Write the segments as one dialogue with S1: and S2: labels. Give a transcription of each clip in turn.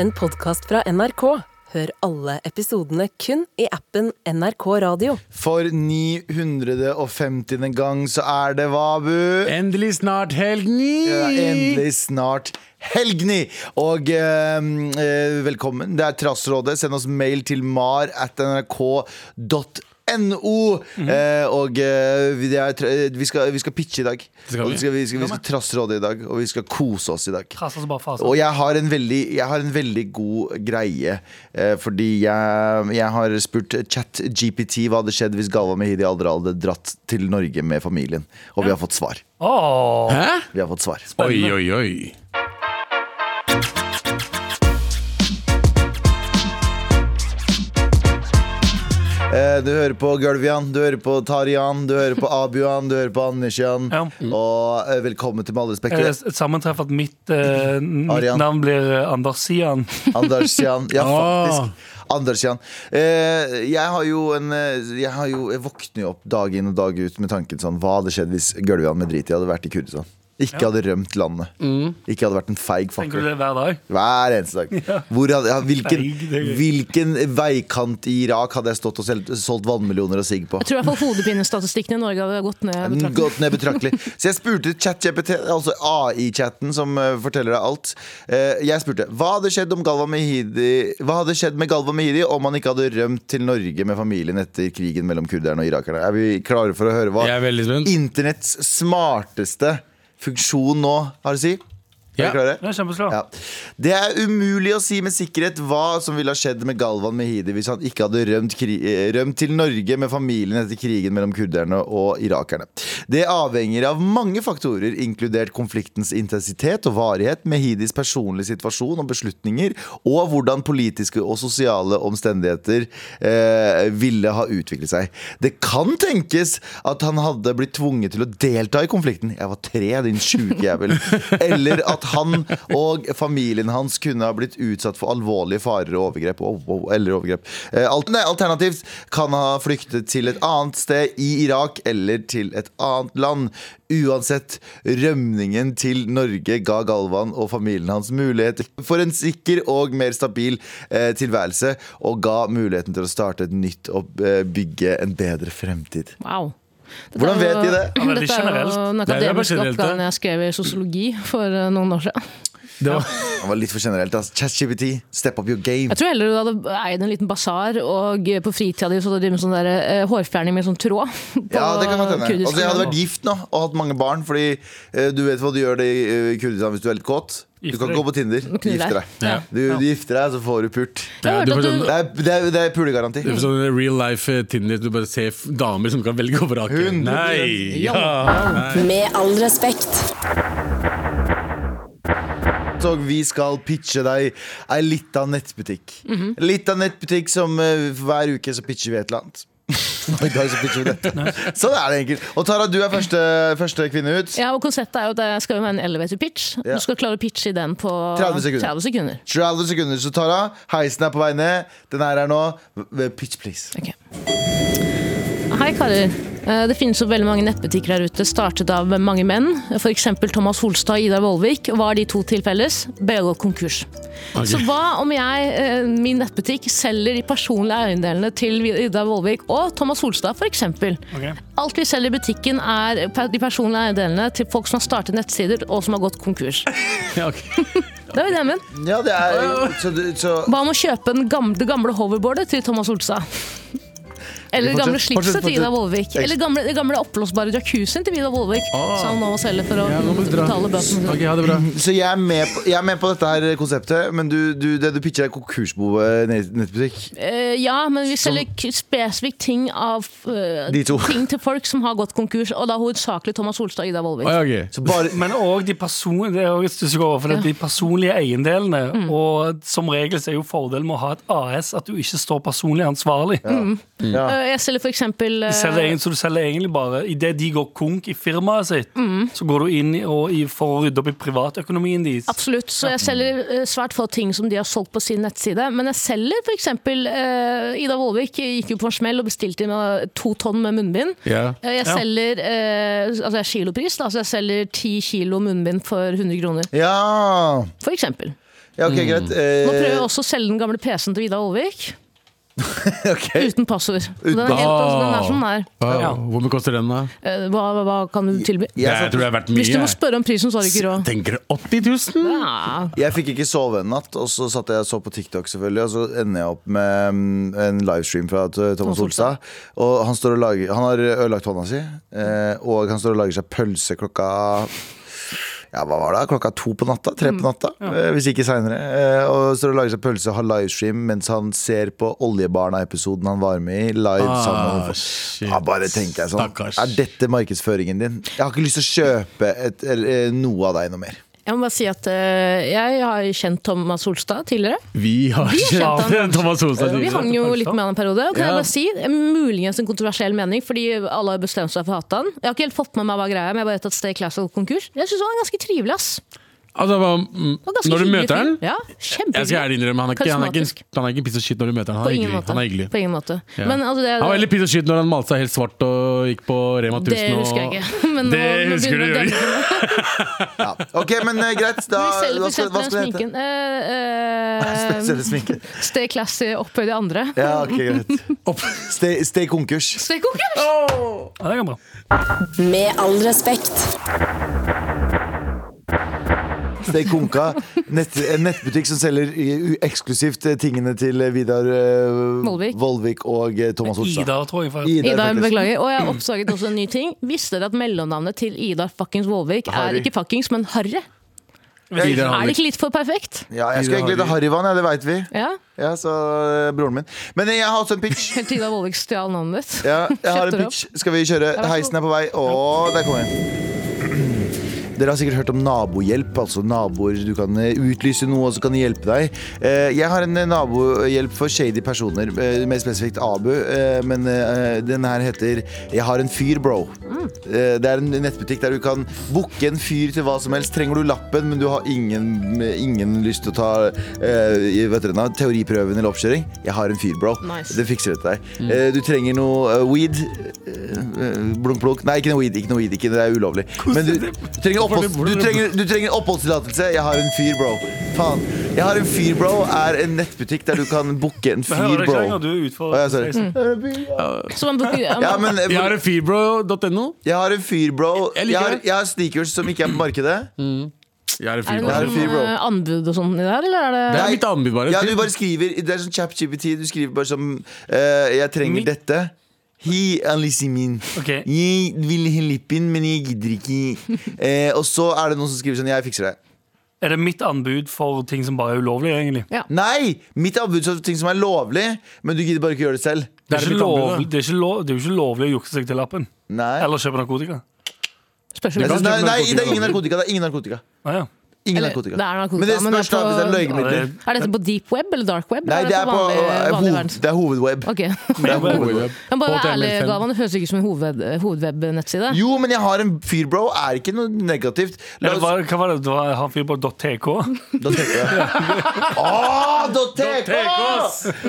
S1: en podkast fra NRK. Hør alle episodene kun i appen NRK Radio.
S2: For 950. gang så er det Vabu.
S3: Endelig snart helg ni!
S2: Det er endelig snart helgni! Og eh, eh, velkommen. Det er Trassrådet. Send oss mail til mar at nrk.no.
S3: Mhm.
S2: eh, og eh, vi- det er, tra- eh, vi, skal, vi skal pitche i dag.
S3: skal
S2: og
S3: vi.
S2: vi, skal, vi, skal, vi skal trassråde i dag, og vi skal kose oss i dag.
S4: Kassa som bare faser.
S2: Og jeg har en veldig, jeg har en veldig god greie. Eh, fordi jeg, jeg har spurt ChatGPT hva hadde skjedd hvis Galva Mehidi aldri hadde dratt til Norge med familien. Og vi har fått svar.
S4: Åh,
S3: Hæ?
S2: Vi har fått svar.
S3: Oi, oi, oi.
S2: Eh, du hører på Gølvian, du hører på Tarian, du hører på Abuan, du hører på Andersjan.
S4: Ja.
S2: Og eh, velkommen til Med all respekt
S4: er det et sammentreff at mitt, eh, mitt
S2: Arian.
S4: navn blir eh, Anders Sian?
S2: Andersjan. Ja,
S3: Ah.
S2: faktisk. Andersjan. Eh, jeg har jo en eh, Jeg, har jo, jeg våkner jo opp dag inn og dag ut med tanken sånn Hva hadde skjedd hvis Gulvian med drit i hadde vært i Kurdistan? Ikke hadde rømt landet. Ikke hadde vært en feig
S4: Mm. Tenker du
S2: fucker.
S4: det hver dag?
S2: Hver eneste dag. Hvor hadde, ja, hvilken,
S4: Feig, det er gøy.
S2: hvilken veikant i Irak hadde jeg stått og solgt, solgt vannmillioner og sigg på?
S5: Jeg tror i hvert fall hodepinestatistikken i Norge hadde gått ned.
S2: Den
S5: betraktelig.
S2: Gått ned betraktelig. Så jeg spurte ChatGPT, altså AI-chatten som eh, forteller deg alt. Eh, jeg spurte hva hadde skjedd om Galva Mehidi Hva hadde skjedd med Galva Mehidi om han ikke hadde rømt til Norge med familien etter krigen mellom kurderne og irakerne. Er vi klare for å høre hva
S3: Jeg er veldig spent.
S2: internetts smarteste funksjon nå har å si? Er
S3: Ja.
S2: vi klare?
S4: Det er kjempeslå.
S2: Ja. Det er umulig å si med sikkerhet hva som ville ha skjedd med Galvan Mehidi hvis han ikke hadde rømt, kri eh, rømt til Norge med familien etter krigen mellom kurderne og irakerne. Det avhenger av mange faktorer, inkludert konfliktens intensitet og varighet, Mehidis personlige situasjon og beslutninger, og hvordan politiske og sosiale omstendigheter eh, ville ha utviklet seg. Det kan tenkes at han hadde blitt tvunget til å delta i konflikten. Jeg var tre, din sjuke jævel. Eller at han og familien hans kunne ha blitt utsatt for alvorlige farer og overgrep. Oh, wow, eller overgrep. Eh, alt- nei, Alternativt kan ha flyktet til et annet sted i Irak eller til et annet land. Uansett, rømningen til Norge ga Galvan og familien hans mulighet for en sikker og mer stabil eh, tilværelse, og ga muligheten til å starte et nytt og eh, bygge en bedre fremtid.
S5: Wow. Dette
S2: Hvordan
S5: er jo-
S2: vet de det?
S4: Ja, veldig
S5: Dette er jo
S4: generelt.
S3: Det
S5: den
S3: er jo bare
S5: akademiske
S3: generelt,
S5: oppgaven
S3: det.
S5: jeg skrev i sosiologi for eh, noen år siden.
S3: Det var,
S2: Det var litt for generelt. ass. ChatGPT, step up your game.
S5: Jeg tror heller du hadde eid en liten basar, og eh, på fritida di så hadde du drevet med sånn der, eh, hårfjerning med sånn tråd. På
S2: Ja, det kan godt hende.
S5: kurdisk
S2: Altså, jeg hadde
S5: land.
S2: vært gift nå og hatt mange barn, fordi eh, du vet hva du gjør det i eh, Kurdistan hvis du er litt kåt. Du
S4: Gifter
S2: kan ikke gå
S4: deg.
S2: på Tinder. Du
S5: knuller.
S2: gifter deg.
S3: Ja.
S2: Du, du gifter deg, så får du pult.
S5: Jeg
S3: Ja,
S5: har
S3: du
S5: hørt
S3: får
S5: at
S3: sånn-
S5: du,
S2: Det er, det er, det er pulegaranti.
S3: det var sånn real life eh, Tinder. Du bare ser f- damer som kan velge og vrake.
S2: 100%.
S3: Nei! Ja.
S1: Med all respekt.
S2: Så vi skal pitche deg ei lita nettbutikk. Lita nettbutikk som eh, hver uke så pitcher vi et eller annet. Og i dag så pitcher vi dette. Sånn er det enkelt. Og Tara, du er første, første kvinne ut.
S5: ja, og konseptet er jo at det skal jo være en elevator pitch.
S2: Ja.
S5: Du skal klare å pitche i den på
S2: 30 sekunder.
S5: 30 sekunder.
S2: 30 sekunder, så Tara, heisen er på vei ned. Den er her nå. V- Pitch, please.
S5: Ok. Hei, karer. Eh, Det finnes jo veldig mange nettbutikker her ute, startet av mange menn. F.eks. Thomas Holstad og Ida Vollvik. Og Hva har de to til felles? Begge går konkurs.
S3: Ok.
S5: Så hva om jeg, eh, min nettbutikk, selger de personlige eiendelene til Ida Vollvik og Thomas Holstad, f.eks.?
S4: Ok.
S5: Alt vi selger i butikken, er per- de personlige eiendelene til folk som har startet nettsider og som har gått konkurs.
S3: Ja, ok.
S5: Det var ideen min.
S2: Ja, det er Så, du- så
S5: Hva om å kjøpe den gamle, det gamle hoverboardet til Thomas Olstad? Eller det gamle
S2: Fortsett,
S5: slipset
S2: fortsett,
S5: til Ida
S2: fortsett.
S5: Vollvik. Eller gamle, det gamle oppblåsbare jacuzzien til Ida Vollvik.
S2: Ah.
S5: Som han nå må selge for å
S3: Ja, nå må du dra.
S5: betale bøtene.
S3: Ok, ha det bra.
S2: Så jeg er, med på, jeg er med på dette her konseptet, men du, du, det du pitcher er konkursbo eh, nett- nettbutikk.
S5: Eh, ja, men vi selger k- spesifikt ting av eh,
S2: De to.
S5: Ting til folk som har gått konkurs, og da hovedsakelig Thomas Olstad og Ida Vollvik.
S3: Oi, ok.
S2: Så bare
S4: Men òg de, person, det er også et stussig over, for det er de personlige eiendelene.
S5: Mm.
S4: Og som regel så er jo fordelen med å ha et AS at du ikke står personlig ansvarlig.
S2: ja.
S5: Eh, jeg selger for eksempel eh,
S4: Du selger, egen- så du selger egentlig bare Idet de går konk i firmaet sitt,
S5: Mm.
S4: så går du inn i- og, i- for å rydde opp i privatøkonomien deres.
S5: Absolutt. Så jeg selger eh, svært få ting som de har solgt på sin nettside. Men jeg selger f.eks. Uh, Ida Vollvik gikk jo på en smell og bestilte inn eh, to tonn med munnbind.
S3: Ja.
S5: Eh, Jeg
S4: Ja.
S5: selger eh, altså jeg er kilopris, da, så jeg selger ti kilo munnbind for 100 kroner,
S2: ja.
S5: for eksempel.
S2: Ja, ok, greit.
S5: Nå prøver
S2: Eh,
S5: jeg også å selge den gamle PC-en til Vidar Olvik.
S2: ok.
S5: Uten passord. Den er, helt, altså, den er som den er.
S3: Hva,
S4: Ja.
S3: Hvor mye koster den, da?
S5: Eh, Hva, hva, hva kan du tilby?
S2: Jeg
S3: Jeg,
S2: satt-
S3: tror det er verdt mye.
S5: Hvis du må
S3: jeg.
S5: spørre om prisen, så har du ikke råd.
S3: Tenker du 80 000?
S5: Ja.
S2: Jeg fikk ikke sove en natt, og så satt jeg og så på TikTok, selvfølgelig. Og så ender jeg opp med mm, en livestream fra T- Thomas Olstad. Og han, står og lager, han har ødelagt hånda si, eh, og han står og lager seg pølse klokka ja, hva var det? Klokka to på natta? Tre på natta? eh, Hvis ikke seinere. Og står og lager seg pølse og har livestream mens han ser på Oljebarna-episoden han var med i. Live sammen med
S3: shit.
S2: ja, bare tenker jeg sånn
S3: Stakkars.
S2: Er dette markedsføringen din? Jeg har ikke lyst til å kjøpe et, eller, eh, noe av deg noe mer.
S5: Jeg må bare si at eh, jeg har kjent Thomas Olstad tidligere.
S3: Vi har
S5: kjent
S3: kjent Thomas Olstad.
S5: Vi hang jo litt med han en periode. Og kan
S3: Ja.
S5: jeg bare si, eh, muligens en kontroversiell mening, fordi alle har bestemt seg for å hate han. Jeg har ikke helt fått med meg hva greia er, men jeg bare vet at Stay Class har gått konkurs. Jeg syns han er ganske trivelig, ass.
S3: Altså, hva- mm,
S5: Han er
S3: når
S5: ganske
S3: du
S5: hyggelig
S3: møter
S5: fyr.
S3: han
S5: Ja,
S3: Jeg skal ærlig
S5: kjempehyggelig.
S3: innrømme, han er ikke, han er
S5: Karismatisk.
S3: ikke, han er ikke piss og shit når du møter han.
S5: På
S3: Han er
S5: ingen
S3: hyggelig.
S5: måte.
S3: Han er hyggelig.
S5: På ingen måte.
S3: Ja.
S5: Men altså, det,
S3: Han var heller piss og shit når han malte seg helt svart og gikk på Rema 1000.
S5: det husker jeg ikke. Men nå,
S3: Det
S5: nå
S3: husker
S5: begynner
S3: du,
S5: jeg å
S3: Jørgen.
S5: dempe meg.
S2: Ja. Ok, men eh, greit. Da,
S5: Vi selger
S2: hva
S5: for
S2: skal, hva
S5: eksempel
S2: skal det hete?
S5: den sminken. Eh, eh,
S2: Selge sminke.
S5: Stay Class opphøyd i andre.
S2: Ja, ok, greit. Stay, stay konkurs.
S5: Stay konkurs!
S4: Ja, det går bra.
S1: Med all respekt.
S2: Stay konka. Nett, en nettbutikk som selger eh, u- eksklusivt eh, tingene til eh, Vidar eh,
S5: Vollvik.
S2: Vollvik og eh, Thomas Olstad.
S4: Idar, tror jeg. For.
S2: Idar,
S5: Idar,
S2: faktisk.
S5: beklager. Og jeg har oppdaget også en ny ting. Visste dere at mellomnavnet til Idar fuckings Vollvik er
S2: Harry.
S5: ikke fuckings, men Harry?
S3: Idar
S5: Er det
S3: Hallik.
S5: ikke litt for perfekt?
S2: Ja, jeg skulle
S3: Idar
S2: egentlig hete Harryvan, ja, det veit vi.
S5: Ja.
S2: Ja, så eh, broren min. Men eh, jeg har også en pitch.
S5: Helt til Idar Vollvik stjal navnet ditt.
S2: Ja, jeg har en
S5: Kjøpte det
S2: pitch. Skal vi kjøre?
S5: vær så
S2: Heisen er på vei. Å, der kommer den. Dere har sikkert hørt om nabohjelp, altså naboer du kan eh, utlyse noe og så kan de hjelpe deg. Eh, Jeg har en eh, nabohjelp for shady personer, eh, mer spesifikt Abu, eh, men eh, den her heter Jeg har en fyr, bro. Eh, Det er en nettbutikk der du kan booke en fyr til hva som helst. Trenger du lappen, men du har ingen, ingen lyst til å ta eh, vet dere, nå, teoriprøven eller oppkjøring? Jeg har en fyr, bro.
S5: Nice.
S2: Det fikser det til deg. Eh, Du trenger noe eh, weed. Eh, eh, Blunk, blunk. Nei, ikke noe weed. Ikke noe weed, ikke, det er ulovlig. Men du, du trenger, oppholds, du trenger, du trenger oppholdstillatelse. Jeg har en fyr, bro. Faen. Jeg har en fyr, bro er en nettbutikk der du kan booke en
S4: Jeg hører
S2: fyr,
S4: deg ikke
S2: bro.
S4: lenger, du er utfor.
S2: Å, ja, sorry.
S5: Så man bruker, ja,
S2: Ja,
S5: men,
S2: men eh,
S3: Jeg har en fyrbro.no.
S2: jeg har en fyr, bro.
S3: Jeg
S2: Jeg
S3: liker
S2: har,
S3: det. Mm.
S2: jeg har sneakers som ikke er på markedet.
S3: Jeg har en
S5: er det
S2: Jeg
S5: noe
S2: har
S3: fyrbro.
S2: en
S5: sånn,
S2: fyr, bro.
S5: eh, anbud og sånn i det her, eller er det
S3: Det
S2: Nei.
S3: er mitt anbud, bare.
S2: Ja, du bare skriver Det er sånn ChatGPT. Du skriver bare som eh, Jeg trenger
S4: Mitt-
S2: dette. He er liksom min.
S4: Ok.
S2: Jeg vil ha lippen, men jeg gidder ikke. Eh, og så er det noen som skriver sånn Jeg fikser det.
S4: Er det mitt anbud for ting som bare er ulovlig, egentlig?
S2: Nei! Mitt anbud er ting som er lovlig, men du gidder bare ikke gjøre det selv.
S3: Det
S4: Det er,
S3: er
S4: ikke
S3: mitt anbud,
S4: lovlig, det, er ikke lov, det er jo ikke lovlig å jukse seg til lappen.
S2: Nei.
S4: Eller kjøpe narkotika.
S5: spørsmål?
S2: Jeg synes- nei,
S3: kjøpe
S2: nei, det er
S3: narkotika.
S2: ingen narkotika. Det er ingen narkotika.
S4: Ah, ja.
S2: Ingen
S5: Eller,
S2: narkotika.
S5: det er narkotika,
S2: Men det
S5: men det
S2: spørs
S5: er
S2: da
S5: på-
S2: hvis det er
S4: Ja,
S2: løgnmidler.
S4: det-
S5: Er dette på deep web eller dark web?
S2: Nei,
S5: eller
S2: det er på eh,
S5: vanlig, vanlig
S2: hoved,
S5: verden?
S2: det er hovedweb.
S5: Ok.
S2: Det er hovedweb.
S5: Men bare vær ærlig,
S3: HTML5.
S5: Galvan. Det høres ikke ut som en hovedweb- hovedweb-nettside.
S2: Jo, men jeg har en fyr, bro. Er ikke noe negativt. La oss,
S4: Eller hva, hva var det? Det var han fyren på .tk?
S2: da tenker jeg Ah, Åh, da tenker jeg!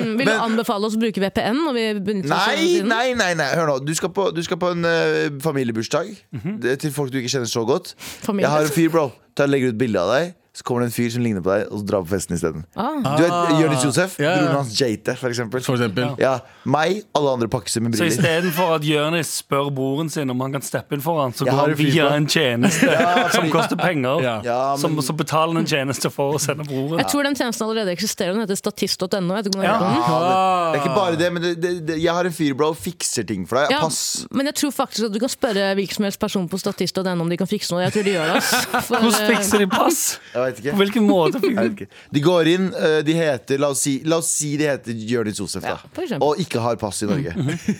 S5: Mm, Vil du anbefale oss å bruke VPN? Når vi benytter oss
S2: Nei,
S5: av den siden?
S2: nei, nei, nei, hør nå. Du skal på, du skal på en eh, familiebursdag
S3: Mhm.
S2: Det er til folk du ikke kjenner så godt.
S5: Familie.
S2: Jeg har en fyr, bro. Ta og Legger ut bilde av deg. Så kommer det en fyr som ligner på deg, og så drar på festen isteden.
S5: Ah.
S2: Du vet Jonis Josef?
S3: Ja, ja.
S2: Broren hans Jate, for eksempel.
S3: For eksempel.
S2: Ja, meg, alle andre pakker seg med
S4: Så
S2: briller.
S4: istedenfor at Jonis spør broren sin om han kan steppe inn for han, så
S2: Jeg
S4: går
S2: har
S4: han
S2: en fyr
S4: via
S2: på-
S4: en tjeneste
S2: Ja,
S4: som
S2: fordi-
S4: koster penger.
S3: Ja.
S2: Ja,
S4: Som,
S2: men-
S4: som betaler en tjeneste for å sende broren.
S5: Jeg tror den tjenesten allerede eksisterer. Den heter statist.no. vet du ikke om du har
S2: Ja,
S5: hørt om den?
S2: det, det er ikke
S3: Ah.
S2: bare det, men det, det, det, jeg har en fyr, bro. Fikser ting for deg.
S5: Ja,
S2: Pass.
S5: men jeg tror faktisk at du kan spørre hvilken som helst person på statist.no om de kan fikse noe. Jeg tror de gjør det. ass. For, eh,
S4: Hvordan fikser de pass?
S2: Jeg vet ikke.
S4: På hvilken måte? fikk
S2: Jeg
S4: de-
S2: vet ikke. De går inn, eh, de heter La oss si, la oss si de heter Jonis Josef, da.
S5: Ja, for eksempel. Mhm.
S2: og ikke har pass i Norge.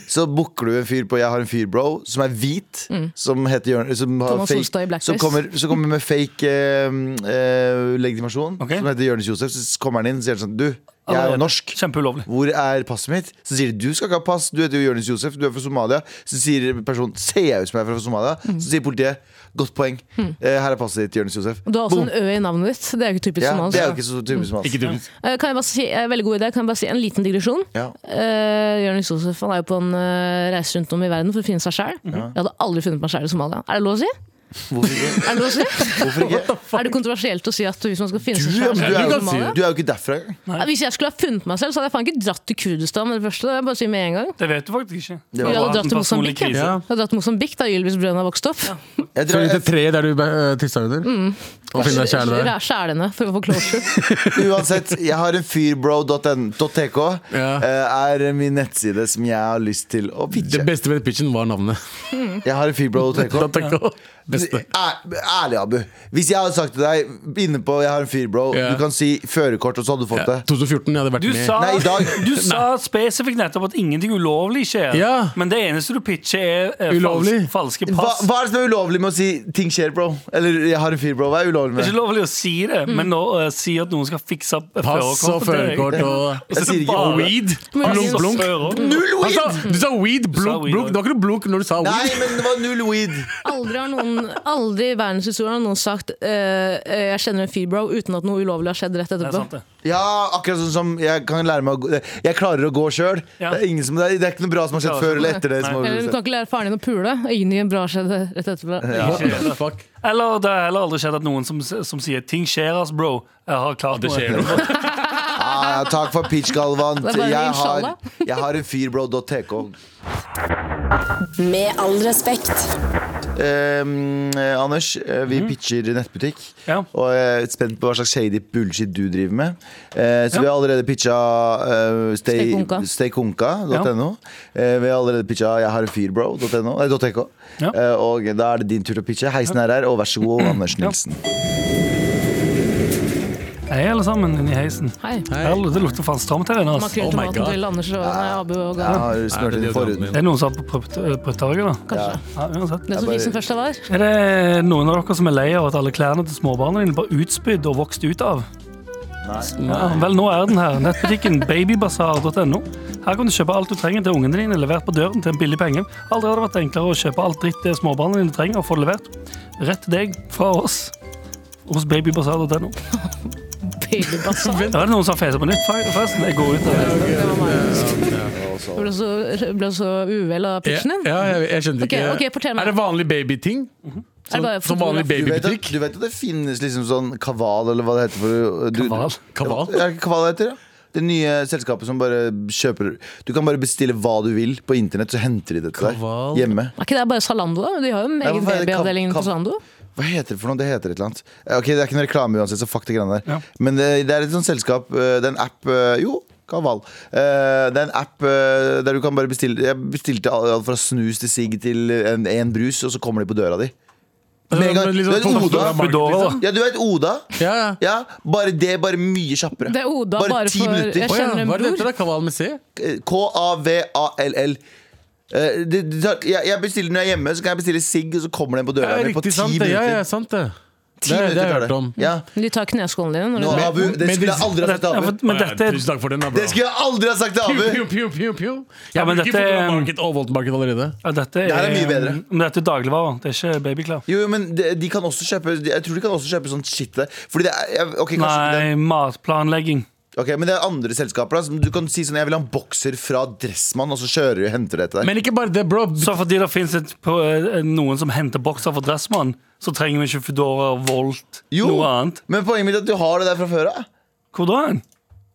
S2: Så booker du en fyr på Jeg har en fyr, bro, som er hvit, som heter Jørn, som har
S5: Mm. Thomas Solstad i
S2: fake,
S5: blacklist.
S2: som kommer, som kommer med fake eh, eh, legitimasjon,
S4: Ok.
S2: som heter Jonis Josef. Så kommer han inn og sier han sånn Du, jeg er jo norsk.
S4: Kjempeulovlig.
S2: Hvor er passet mitt? Så sier de du skal ikke ha pass, du heter jo Jonis Josef, du er fra Somalia. Så sier personen ser jeg ut som jeg er fra Somalia?
S5: Mm.
S2: Så sier politiet godt poeng, Eh, her er passet ditt, Jonis Josef.
S5: du har også en Ø i navnet ditt. Det er jo ikke typisk
S2: Ja,
S5: somalisk.
S2: det er jo ikke så typisk som
S3: Ikke typisk.
S5: Eh, Kan jeg bare si, eh, veldig god idé. Kan jeg bare si en liten digresjon?
S2: Ja.
S5: Uh, Jonis eh, Josef han er jo på en eh, reise rundt om i verden for å finne seg sjæl. Jeg hadde aldri funnet meg sjæl i Somalia. Er det lov å si?
S2: Hvorfor ikke?
S5: Er det, lov å si?
S2: Hvorfor ikke?
S5: er det kontroversielt å si at hvis man skal finne
S2: Du,
S5: seg
S2: ja, men du, er
S5: selv, så er det
S2: jo,
S5: normale?
S2: du er jo ikke derfra engang.
S5: Ja, Hvis jeg skulle ha funnet meg selv, så hadde jeg faen ikke dratt til Kurdistan med det første. Det vil jeg bare si med en gang.
S4: Det vet du faktisk ikke.
S2: var-
S4: Det
S5: Jeg
S4: var
S5: hadde
S4: en
S5: dratt til
S4: personlig
S5: Mosambik, jeg.
S4: krise.
S5: Jeg hadde dratt til Mosambik da Ylvis Brønn har vokst opp.
S2: Jeg
S3: Før til
S2: drar,
S3: treet der du uh, tissa under?
S5: Mm.
S3: Og finne deg kjæle der?
S5: Skjælene, for å få closure.
S2: uansett, jeg har en fyrbro.tk.
S3: Ja.
S2: eh, Er min nettside som jeg har lyst til å
S3: Det
S2: pitche.
S3: beste med pitchen var navnet.
S2: Jeg har en fyrbro.tk.
S3: Beste.
S2: Æ- Eh, Ærlig, Abu. Hvis jeg hadde sagt til deg inne på jeg har en fyrbro,
S3: Ja.
S2: du kan si førerkort, og så hadde du fått
S3: Ja,
S2: det.
S3: 2014 jeg hadde vært
S4: Du
S3: med.
S4: sa,
S2: Nei, i dag.
S4: du sa spesifikt nettopp at ingenting ulovlig skjer.
S3: Ja.
S4: Men det eneste du pitcher, er, er
S3: Ulovlig?
S4: falske, falske
S2: Hva,
S4: pass.
S2: hva er det som er ulovlig med å si 'ting skjer, bro'? Eller 'jeg har en fyr, bro'? Hva er ulovlig
S4: Det er
S2: med
S4: ikke
S2: det?
S4: lovlig å si det, men å eh, si at noen skal fikse opp
S3: Pass og
S4: førerkortet, det er-
S3: førerkort og
S2: Jeg sier ikke
S4: Bare-
S3: Weed. Blunk,
S4: Pass og
S3: blunk.
S4: førerkort.
S2: Null
S3: Han
S2: weed!
S3: sa, du sa weed,
S4: sa
S3: blunk,
S4: weed,
S3: blunk.
S4: ja.
S3: Det var ikke noe blunk når du sa
S2: Nei,
S3: weed.
S2: men det var null weed.
S5: Aldri har noen, aldri i verdenshistorien har noen sagt eh, eh, 'jeg kjenner en fyrbro' uten at noe ulovlig har skjedd rett
S4: Det er
S5: etterpå.
S4: sant, det.
S2: Ja, akkurat sånn som jeg kan lære meg å gå Jeg klarer å gå sjøl.
S4: Ja.
S2: Det, er ingen som- det er ikke noe bra som har skjedd før
S4: Klarer
S2: eller etter det. Som
S5: Eller sånn- du
S2: har
S5: kan ikke lære faren din å pule. Øynene i en bra skjedde rett etterpå.
S3: Hva- Fuck.
S4: Eller det har heller aldri skjedd at noen som, som sier 'ting skjer, ass, bro', jeg har klart
S3: Det skjer
S4: noe.
S3: noe.
S2: ah, takk for pitch, Galvan.
S5: er bare
S2: Jeg har,
S5: inshallah.
S2: jeg har en fyr, bro.tk.
S1: Med all respekt.
S2: Ehm, eh, Anders, eh, vi pitcher nettbutikk.
S4: Mhm. Ja.
S2: Og jeg er spent på hva slags shady bullshit du driver med. Eh, så vi
S4: Ja.
S2: har allerede pitcha eh, stay-
S5: Staykonka.
S2: staykonka.no. Eh, vi har allerede pitcha jeg har en fyr, bro.no. Nei, .tk.
S4: Ja.
S2: Eh, og da er det din tur til å pitche. Heisen er her, og vær så god, Anders Nilsen.
S4: Hei, alle sammen inni heisen.
S5: Hei.
S4: Hello, det lukter faen stramt her inne. ass.
S5: Makrell
S3: Oh
S5: til
S3: my
S5: maten
S3: God.
S5: til Anders og nei, Abu og
S2: Jeg
S5: Gahr.
S2: har
S3: Er
S2: smurt
S3: det
S2: inn
S3: deodoranten
S2: forhuden.
S3: min?
S4: Det er noen som har prøvetager, da.
S5: Kanskje.
S4: Ja, uansett.
S5: Den som fikk sin første var.
S4: Er det noen av dere som er lei av at alle klærne til småbarna dine blir utspydd og vokst ut av? Ja, vel, nå er den her. Nettbutikken babybasar.no. Her kan du kjøpe alt du trenger til ungene dine, levert på døren til en billig penge. Aldri har det vært enklere å kjøpe alt dritt det småbarna dine trenger, og få det levert rett til deg fra oss. Hos babybasar.no.
S5: Pøylebassar.
S4: Ja, Er det noen som har fesa på nytt? Forresten, jeg går ut. av-
S5: Ble så, ble så uvel av
S3: Ja,
S5: pitchen din.
S3: ja, jeg, jeg skjønte
S5: Ok,
S3: ikke
S5: ok, fortell meg.
S3: Er det vanlig babyting?
S5: Er det bare
S3: Som vanlig
S5: fotograf-
S2: Du vet, at,
S3: babybutikk?
S2: du vet at det finnes liksom sånn kaval, eller hva det heter? For, du,
S4: Kaval?
S3: Kaval?
S2: Er det ikke kaval det heter, ja? Det nye selskapet som bare kjøper Du kan bare bestille hva du vil på internett, så henter de det til
S3: Kaval?
S2: deg hjemme.
S5: Er ikke det bare Salando, da? De har jo en
S2: Nei,
S5: egen
S2: hvorfor er det kam-
S5: babyavdeling på
S2: kam-
S5: Salando.
S2: Hva heter det for noe? Det heter et eller annet. Eh, Ok, Det er ikke noe reklame uansett, så fuck de greiene der.
S4: Ja.
S2: Men det, det er et sånt selskap, eh, det er en app eh, Jo, Kaval. Eh, Det er en app eh, der du kan bare bestille Jeg bestilte alt alt fra snus til sigg til en, en brus, og så kommer de på døra di. Med en gang.
S3: Men liksom
S2: Du vet
S3: toppen
S2: Oda?
S3: av markedet,
S4: Budova, da.
S3: liksom.
S2: Ja, du vet Oda?
S3: Ja, ja.
S2: Ja, bare det, bare mye kjappere.
S5: Det er Oda
S2: Bare
S5: bare,
S2: ti
S5: for
S2: minutter. Eh,
S5: Jeg
S3: Å ja,
S5: kjenner en
S3: hva er det dette
S5: bror.
S3: da? Kaval med C?
S2: K-A-V-A-L-L. Eh, det- det tar- Jeg jeg bestiller når jeg er hjemme, så kan jeg bestille sigg, og så kommer den på
S3: Ja,
S2: døra mi på ti
S3: riktig sant det.
S2: minutter.
S3: Ja, ja, sant det.
S2: Ti
S3: Det, det
S2: minutter
S3: har jeg
S2: tar
S3: hørt om.
S2: det. Ja.
S5: De tar kneskålene dine.
S2: Nå,
S5: Når du
S2: Abu, det
S3: men
S2: skulle
S3: det-
S2: jeg aldri ha sagt til
S4: Ja,
S2: Abu.
S4: for- Men dette er
S3: Tusen takk for den, da, bro.
S2: Det skulle jeg aldri ha sagt til
S3: Pew,
S2: Abu!
S3: pew, pew, pew, pew. Jeg
S4: Ja, men
S3: bruker
S4: dette- um,
S3: fotogramarked og voltmarked allerede.
S4: Ja, dette er,
S2: Det her er mye bedre.
S4: Men dette er dagligvarer, det er ikke babyklær.
S2: Jo, jo, men de, de kan også kjøpe Jeg tror de kan også kjøpe sånt shit der. Fordi det er jeg- Ok, kanskje ikke det.
S4: Nei, matplanlegging.
S2: Ok, Men det er andre selskaper. Da, som du kan si sånn Jeg vil ha en bokser fra Dressmann, og så kjører du og henter det til deg.
S3: Men ikke bare det, bro.
S4: Så fordi det finnes et, på, eh, noen som henter bokser for Dressmann, så trenger vi ikke Foodora, Volt,
S2: Jo.
S4: noe annet.
S2: Men poenget mitt er at du har det der fra før av.
S4: Hvor da? hen?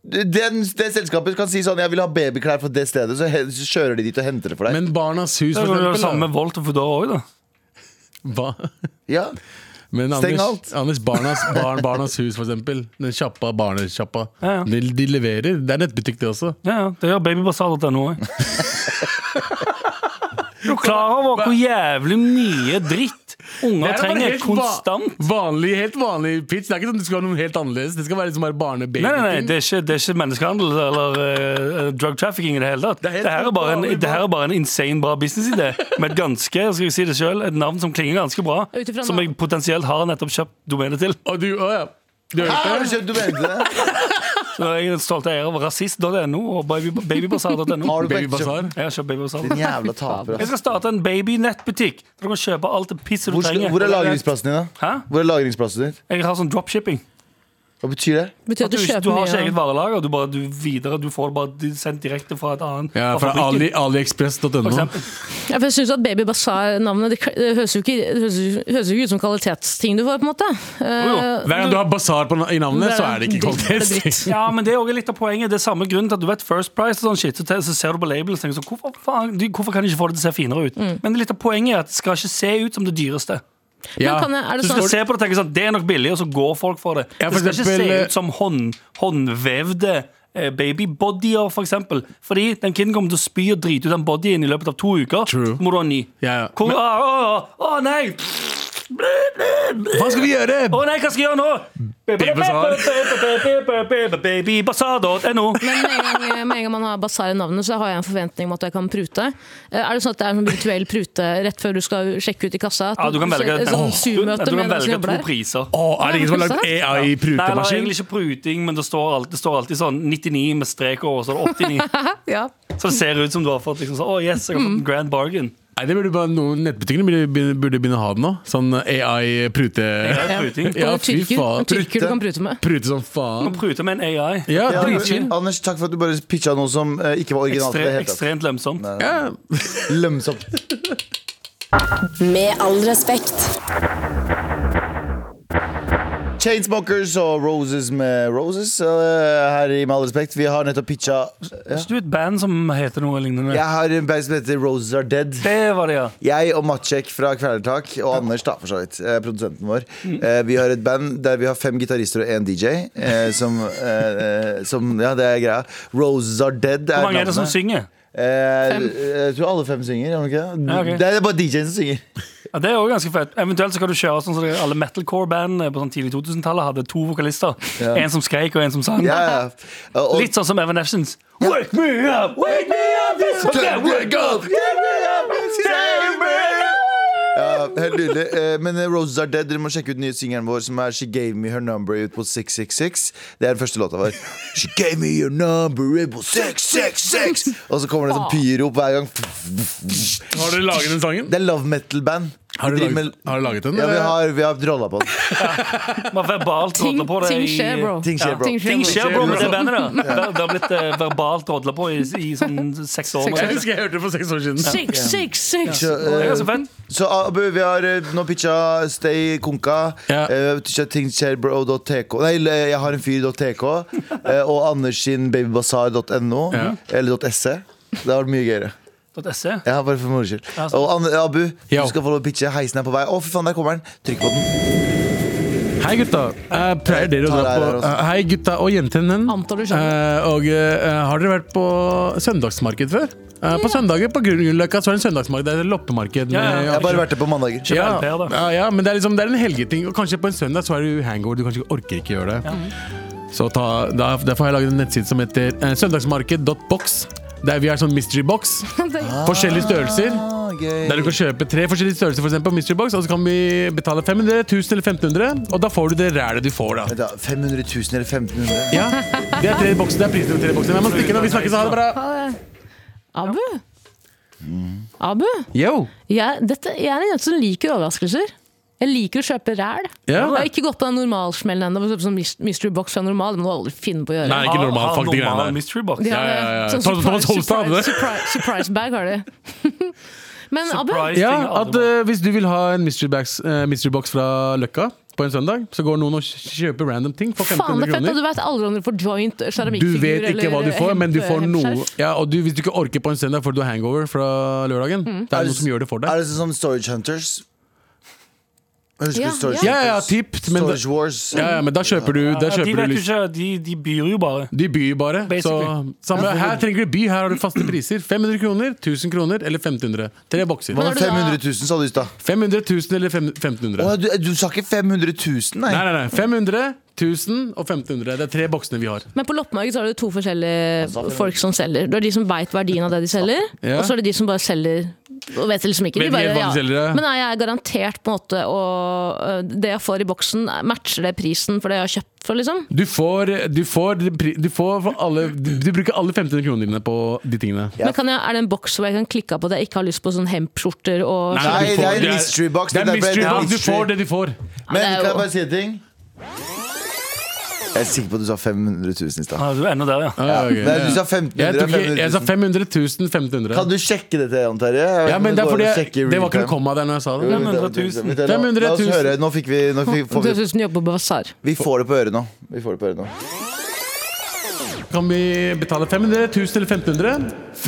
S2: Den, det selskapet kan si sånn Jeg vil ha babyklær fra det stedet, så, he, så kjører de dit og henter det for deg.
S3: Men Barnas Hus,
S4: Det
S3: for
S4: er jo det
S3: eksempel.
S4: samme
S3: da.
S4: med Volt og Foodora òg, da.
S3: Hva?
S2: ja.
S3: Men
S2: Steng
S3: Anders,
S2: alt.
S3: Anders barnas, barn, barnas Hus, for eksempel. Den kjappa, barnekjappa.
S4: Ja, ja.
S3: De, de leverer. Det er nettbutikk, det også.
S4: Ja, ja, det gjør babybasar.no òg. Du er klar over hvor jævlig mye dritt unger
S3: bare
S4: trenger
S3: helt va-
S4: konstant?
S3: vanlig, helt vanlig pitch. Det er ikke sånn at du skal ha noe helt annerledes. Det skal være liksom bare barnebaby.
S4: Nei, nei, nei, det er ikke, det er ikke menneskehandel eller eh, drug trafficking i det hele tatt.
S3: Det er helt
S4: Det her er bare en,
S3: vanlig,
S4: det her er bare en insane bra businessidé med et ganske, skal jeg si det selv, et navn som klinger ganske bra,
S5: Ut ifra
S4: som jeg potensielt har nettopp kjøpt domenet til.
S3: Og du, å, ja. du
S2: Her har
S3: hørte
S2: du
S3: det?
S2: kjøpt domenet!
S4: Så jeg er den stolte eier av rasist.no og baby- babybasar.no.
S2: Har du
S3: Baby
S2: faktisk kjøpt-
S3: Bazaar.
S4: Jeg har kjøpt babybasar.
S2: Din jævla taper.
S4: Jeg
S2: ass.
S4: skal starte en babynettbutikk der du kan kjøpe alt det pisset du
S2: Hvor, skal-
S4: trenger.
S2: hvor er lagringsplassen din, da?
S4: Hæ?
S2: Hvor er lagringsplassen din?
S4: Jeg har sånn dropshipping.
S2: Hva betyr det?
S4: At
S5: Betyr at
S4: du,
S5: du
S4: ikke- du
S5: kjøper
S4: har
S5: mye.
S4: ikke eget varelager. Du, bare, du, videre, du får det bare sendt direkte fra et annet
S3: Ja, fra Ali,
S4: fabrikken. For
S3: aliexpress.no.
S4: eksempel.
S5: Ja, for jeg synes at Baby Bazaar-navnet det, k- det høres jo ikke, det høres, jo- høres jo ikke ut som kvalitetsting du får, på en måte.
S4: jo.
S5: Eh,
S3: Hver gang du har basar på, i navnet, så er det ikke
S5: dritt, det er
S3: kvalitet.
S5: dritt.
S4: Ja, men det er også litt av poenget. Det er samme grunnen til at du vet First Price og sånn shit, så, te- så ser du på labelen og tenker sånn hvorfor, faen, de, hvorfor kan de ikke få det til å se finere ut? Men litt av poenget er at det skal ikke se ut som Mm. det dyreste.
S3: Ja.
S5: kan jeg- er det
S3: Så
S5: sånn-
S4: Du
S3: står
S4: skal se på det og tenke sånn det er nok billig, og så går folk for det.
S3: Ja, for
S4: det skal ikke
S3: eksempel-
S4: se ut som hånd, håndvevde eh, babybodyer, for eksempel. Fordi den kiden kommer til å spy og drite ut den bodyen i løpet av to uker.
S3: True.
S4: Må du ha en ny.
S3: Ja, ja.
S4: Hvor,
S3: Men-
S4: ah, ah, ah, ah, nei!
S3: Hva skal vi gjøre?
S4: Å nei, hva skal jeg gjøre nå? Babybasar.no.
S5: Men med en, gang, med en gang man har basar i navnet, så har jeg en forventning om at jeg kan prute. Eh, Er det sånn at det er en virtuell prute rett før du skal sjekke ut i kassa? At
S4: Ja, du kan velge,
S5: et sånn
S4: Ja,
S5: Zoom-møte
S4: du kan
S5: med den som
S4: velge
S5: jobber
S4: to
S5: der?
S4: priser.
S3: Å, er det ingen som har lagd
S4: Nei, det er
S3: AI-prutemaskin?
S4: egentlig ikke pruting, men det står, alt, det står alltid sånn 99 med strek over, så er det 89.
S5: Ja.
S4: Så det ser ut som du har fått liksom sånn, å yes, jeg har
S5: Mm.
S4: fått en grand bargain.
S3: Nei, det burde bare noen Nettbutikkene burde begynne- burde begynne å ha det nå. Sånn AI-prute...
S4: Det er pruting.
S5: Ja,
S3: Ja,
S5: og
S3: fy
S5: tyrker,
S3: faen.
S5: en
S2: Prute.
S5: tyrker du kan prute med.
S3: Prute som
S4: Du
S3: faen.
S4: pruter med en AI.
S3: Ja,
S2: Ja,
S3: dritfin.
S2: Anders, takk for at du bare pitcha noe som eh, ikke var originalt. i det
S4: Ekstre,
S2: hele tatt.
S4: ekstremt lønnsomt.
S3: Ja.
S2: Lønnsomt.
S1: Med all respekt.
S2: Chainsmokers og Roses med Roses. eh, her i Med all respekt, vi har nettopp pitcha ja.
S4: Hvis du er et band som heter noe lignende
S2: Jeg har en band som heter Roses Are Dead.
S4: Det var det, ja.
S2: Jeg og Matsjek fra Kvelertak og Anders, da, for så vidt, eh, produsenten vår. Eh, vi har et band der vi har fem gitarister og én DJ. Eh, som, eh, eh, som Ja, det er greia. Roses Are Dead er
S4: Hvor mange er det som
S2: navnet.
S4: synger?
S2: Eh,
S5: Fem.
S2: jeg tror alle fem synger. Er det, ikke? det?
S4: Ja, ok.
S2: det er bare DJ-en som synger.
S4: Ja, det er også ganske fett. Eventuelt så kan du kjøre sånn som det- alle metalcore-band på sånn tidlig 2000-tallet hadde to vokalister.
S2: Ja.
S4: En som skreik, og en som sang.
S2: Ja, ja. Og,
S4: Litt sånn som Evan Nefsons. Wake me up, wake me up, this fucking wake up.
S2: Ja, helt nydelig. Eh, Men eh, Roses Are Dead, dere må sjekke ut den nye singelen vår som er She Gave Me Her Number ut på 666. Det er den første låta vår. She gave me your number ut på 666! Og så kommer det sånn pyrop hver gang.
S3: Har du laget den sangen?
S2: Det er love metal-band.
S3: Har du
S2: Vi driver
S3: laget,
S2: med-
S3: har du laget den?
S2: Ja, vi
S3: eller?
S2: har, vi har drolla på den.
S4: Man verbalt
S5: Ting,
S4: rådler på det
S5: ting
S4: i-
S5: skjer, bro.
S2: Ting skjer, bro.
S5: Ting skjer,
S4: Ting
S5: bro.
S4: skjer, bro, med det bandet. da Ver- Det har blitt eh, verbalt rådla på i, i sånn seks år. nå.
S3: Jeg husker jeg hørte det for seks år siden.
S5: Six, six, six.
S2: Så,
S4: Det er
S2: eh,
S4: ganske fett.
S2: Så Abu, vi har eh, nå pitcha Stay Konka.
S3: Ja.
S2: eh, pitcha tingskjerbro.tk Nei, eller, jeg har en fyr.tk. eh, og Anders sin babybasar.no.
S3: Ja.
S2: Eller .se. Det har vært mye gøyere.
S4: .se.
S2: Ja, bare for moro skyld.
S5: sånn.
S4: Ja, sant.
S2: Og An Abu,
S3: Yo.
S2: du skal få lov å pitche. Heisen er på vei. Å, fy faen, der kommer den! Trykk på den.
S3: Hei, gutta. Eh, pleier dere å
S2: Ta
S3: dra
S2: deg
S3: på
S2: der også.
S3: Eh, Hei, gutta og jentene.
S5: Antar du skjønner.
S3: Eh, og eh, har dere vært på søndagsmarked før? Eh, på søndager på Grünerløkka så er det en søndagsmarked. Det er et loppemarked.
S4: Ja, ja,
S3: med-
S4: ja.
S2: Jeg har bare vært der på mandager.
S3: ja,
S4: LP, da.
S3: ja, ja, men det er, liksom, det er en helgeting. Og kanskje på en søndag så er du hangover. Du kanskje orker ikke gjøre det. Så ta, da, Derfor har jeg laget en nettside som heter eh, søndagsmarked.box. Der vi har sånn mystery box. Forskjellige størrelser.
S2: Ah,
S3: Der du
S2: gøy.
S3: kan kjøpe tre forskjellige størrelser for eksempel, på mystery box, og så kan vi betale 500, 1000 eller 1500, og da får du det rælet du får, da.
S2: Vent da, 500 000 eller 1500?
S3: Ja, Det er tre bokser, det er prisen på tre bokser. Nei, man stikker når vi snakkes, ha det bra.
S5: Abu? Abu?
S3: Yo.
S5: Jeg, dette, jeg er en jente som liker overraskelser. Jeg liker å kjøpe ræl.
S3: Ja.
S5: Jeg har ikke gått på den normalsmellen ennå. for eksempel Sånn mys- mystery box fra normal, det må du aldri finne på å gjøre.
S3: Nei, ikke normal, fuck de
S4: normal
S3: greiene der.
S4: mystery box.
S5: De har
S3: Ja, ja, ja.
S5: sånn
S3: Thomas- Thomas
S5: surprise-
S3: Holstad hadde det.
S5: Surprise, surprise bag har de. Men Abu,
S4: Surprise
S3: Ja,
S4: ting alle
S3: at
S4: må-
S3: eh, Hvis du vil ha en mystery, bags, eh, mystery box fra Løkka på en søndag, så går noen og kj- kjøper random ting for
S5: faen
S3: 1500
S5: det er fett at
S3: kroner.
S5: du vet aldri om du får joint
S3: Du
S5: keramikkfigur
S3: vet ikke
S5: eller
S3: hva du får, men du
S5: hemp-
S3: får noe.
S5: hempskjerf.
S3: Ja, og du, Hvis du ikke orker på en søndag fordi du har hangover fra lørdagen,
S5: Mm.
S3: det er noen som gjør det for deg.
S2: Er det sånn som Storage Hunters? Husker
S5: Ja,
S2: du Storage
S3: Ja, ja,
S2: Hunters?
S3: typ, men det-
S2: Storage Wars.
S3: Ja, ja, men da kjøper du, da
S4: Ja, de
S3: kjøper
S4: vet
S3: du
S4: jo
S3: liksom
S4: ikke, de, de byr jo bare.
S3: De byr bare. Så,
S4: Basically.
S3: samme, her trenger du by, her har du faste priser. 500 kroner, 1000 kroner eller 1500. Tre bokser.
S2: Hva
S5: Men er
S2: med
S5: du da-
S2: 500 000, sa du i stad?
S3: 500 000 eller fem- 1500.
S2: Å, du, du sa ikke 500 000, nei?
S3: Nei, nei, nei. 500, 1000 og 1500. Det er tre boksene vi har.
S5: Men på loppemarked så har du to forskjellige folk som selger. Du har de som veit verdien av det de selger,
S3: Ja.
S5: og så er det de som bare selger og vet liksom ikke.
S3: Vet ikke helt hva de selger, ja.
S5: Men nei, jeg er garantert på en måte å øh, Det jeg får i boksen, matcher det prisen for det jeg har kjøpt for, liksom?
S3: Du får, du får, du får for alle Du du bruker alle 1500 kronene dine på de tingene.
S5: Men kan jeg, Er det en boks hvor jeg kan klikke av på at jeg ikke har lyst på sånn hempskjorter og
S3: Nei,
S2: Nei,
S3: du
S2: det
S3: får-
S2: er en
S3: det er-
S2: mystery box.
S3: Det er
S2: derfor-
S3: mystery
S2: det er
S3: box. Du
S2: mystery.
S3: får det du får.
S5: Ja,
S2: Men
S5: det er
S2: kan jeg
S5: jo-
S2: bare si en ting? Jeg er sikker på at du sa 500 000 i stad.
S4: Ah, du er ennå der, ja.
S3: Ah, ok.
S2: Nei, du sa
S3: Jeg,
S2: 1500
S3: tok, ikke-
S2: 500
S3: jeg sa
S2: 000.
S3: 500 000, 500.
S2: Kan du sjekke dette, Jan Terje? Jeg vet
S3: ja,
S2: ikke om
S3: men det, er
S2: går an
S3: fordi
S2: å
S3: jeg,
S2: sjekke i
S3: det var ikke
S2: real-time.
S3: noe komma der når jeg sa det.
S4: 500 000.
S2: La oss
S3: 500 000.
S2: høre. Nå fikk vi, nå fikk, får vi,
S5: Det høres ut som du jobber på basar.
S2: vi får det på øret nå. Vi får det på øret nå.
S3: Kan vi betale 500 000 eller 1500?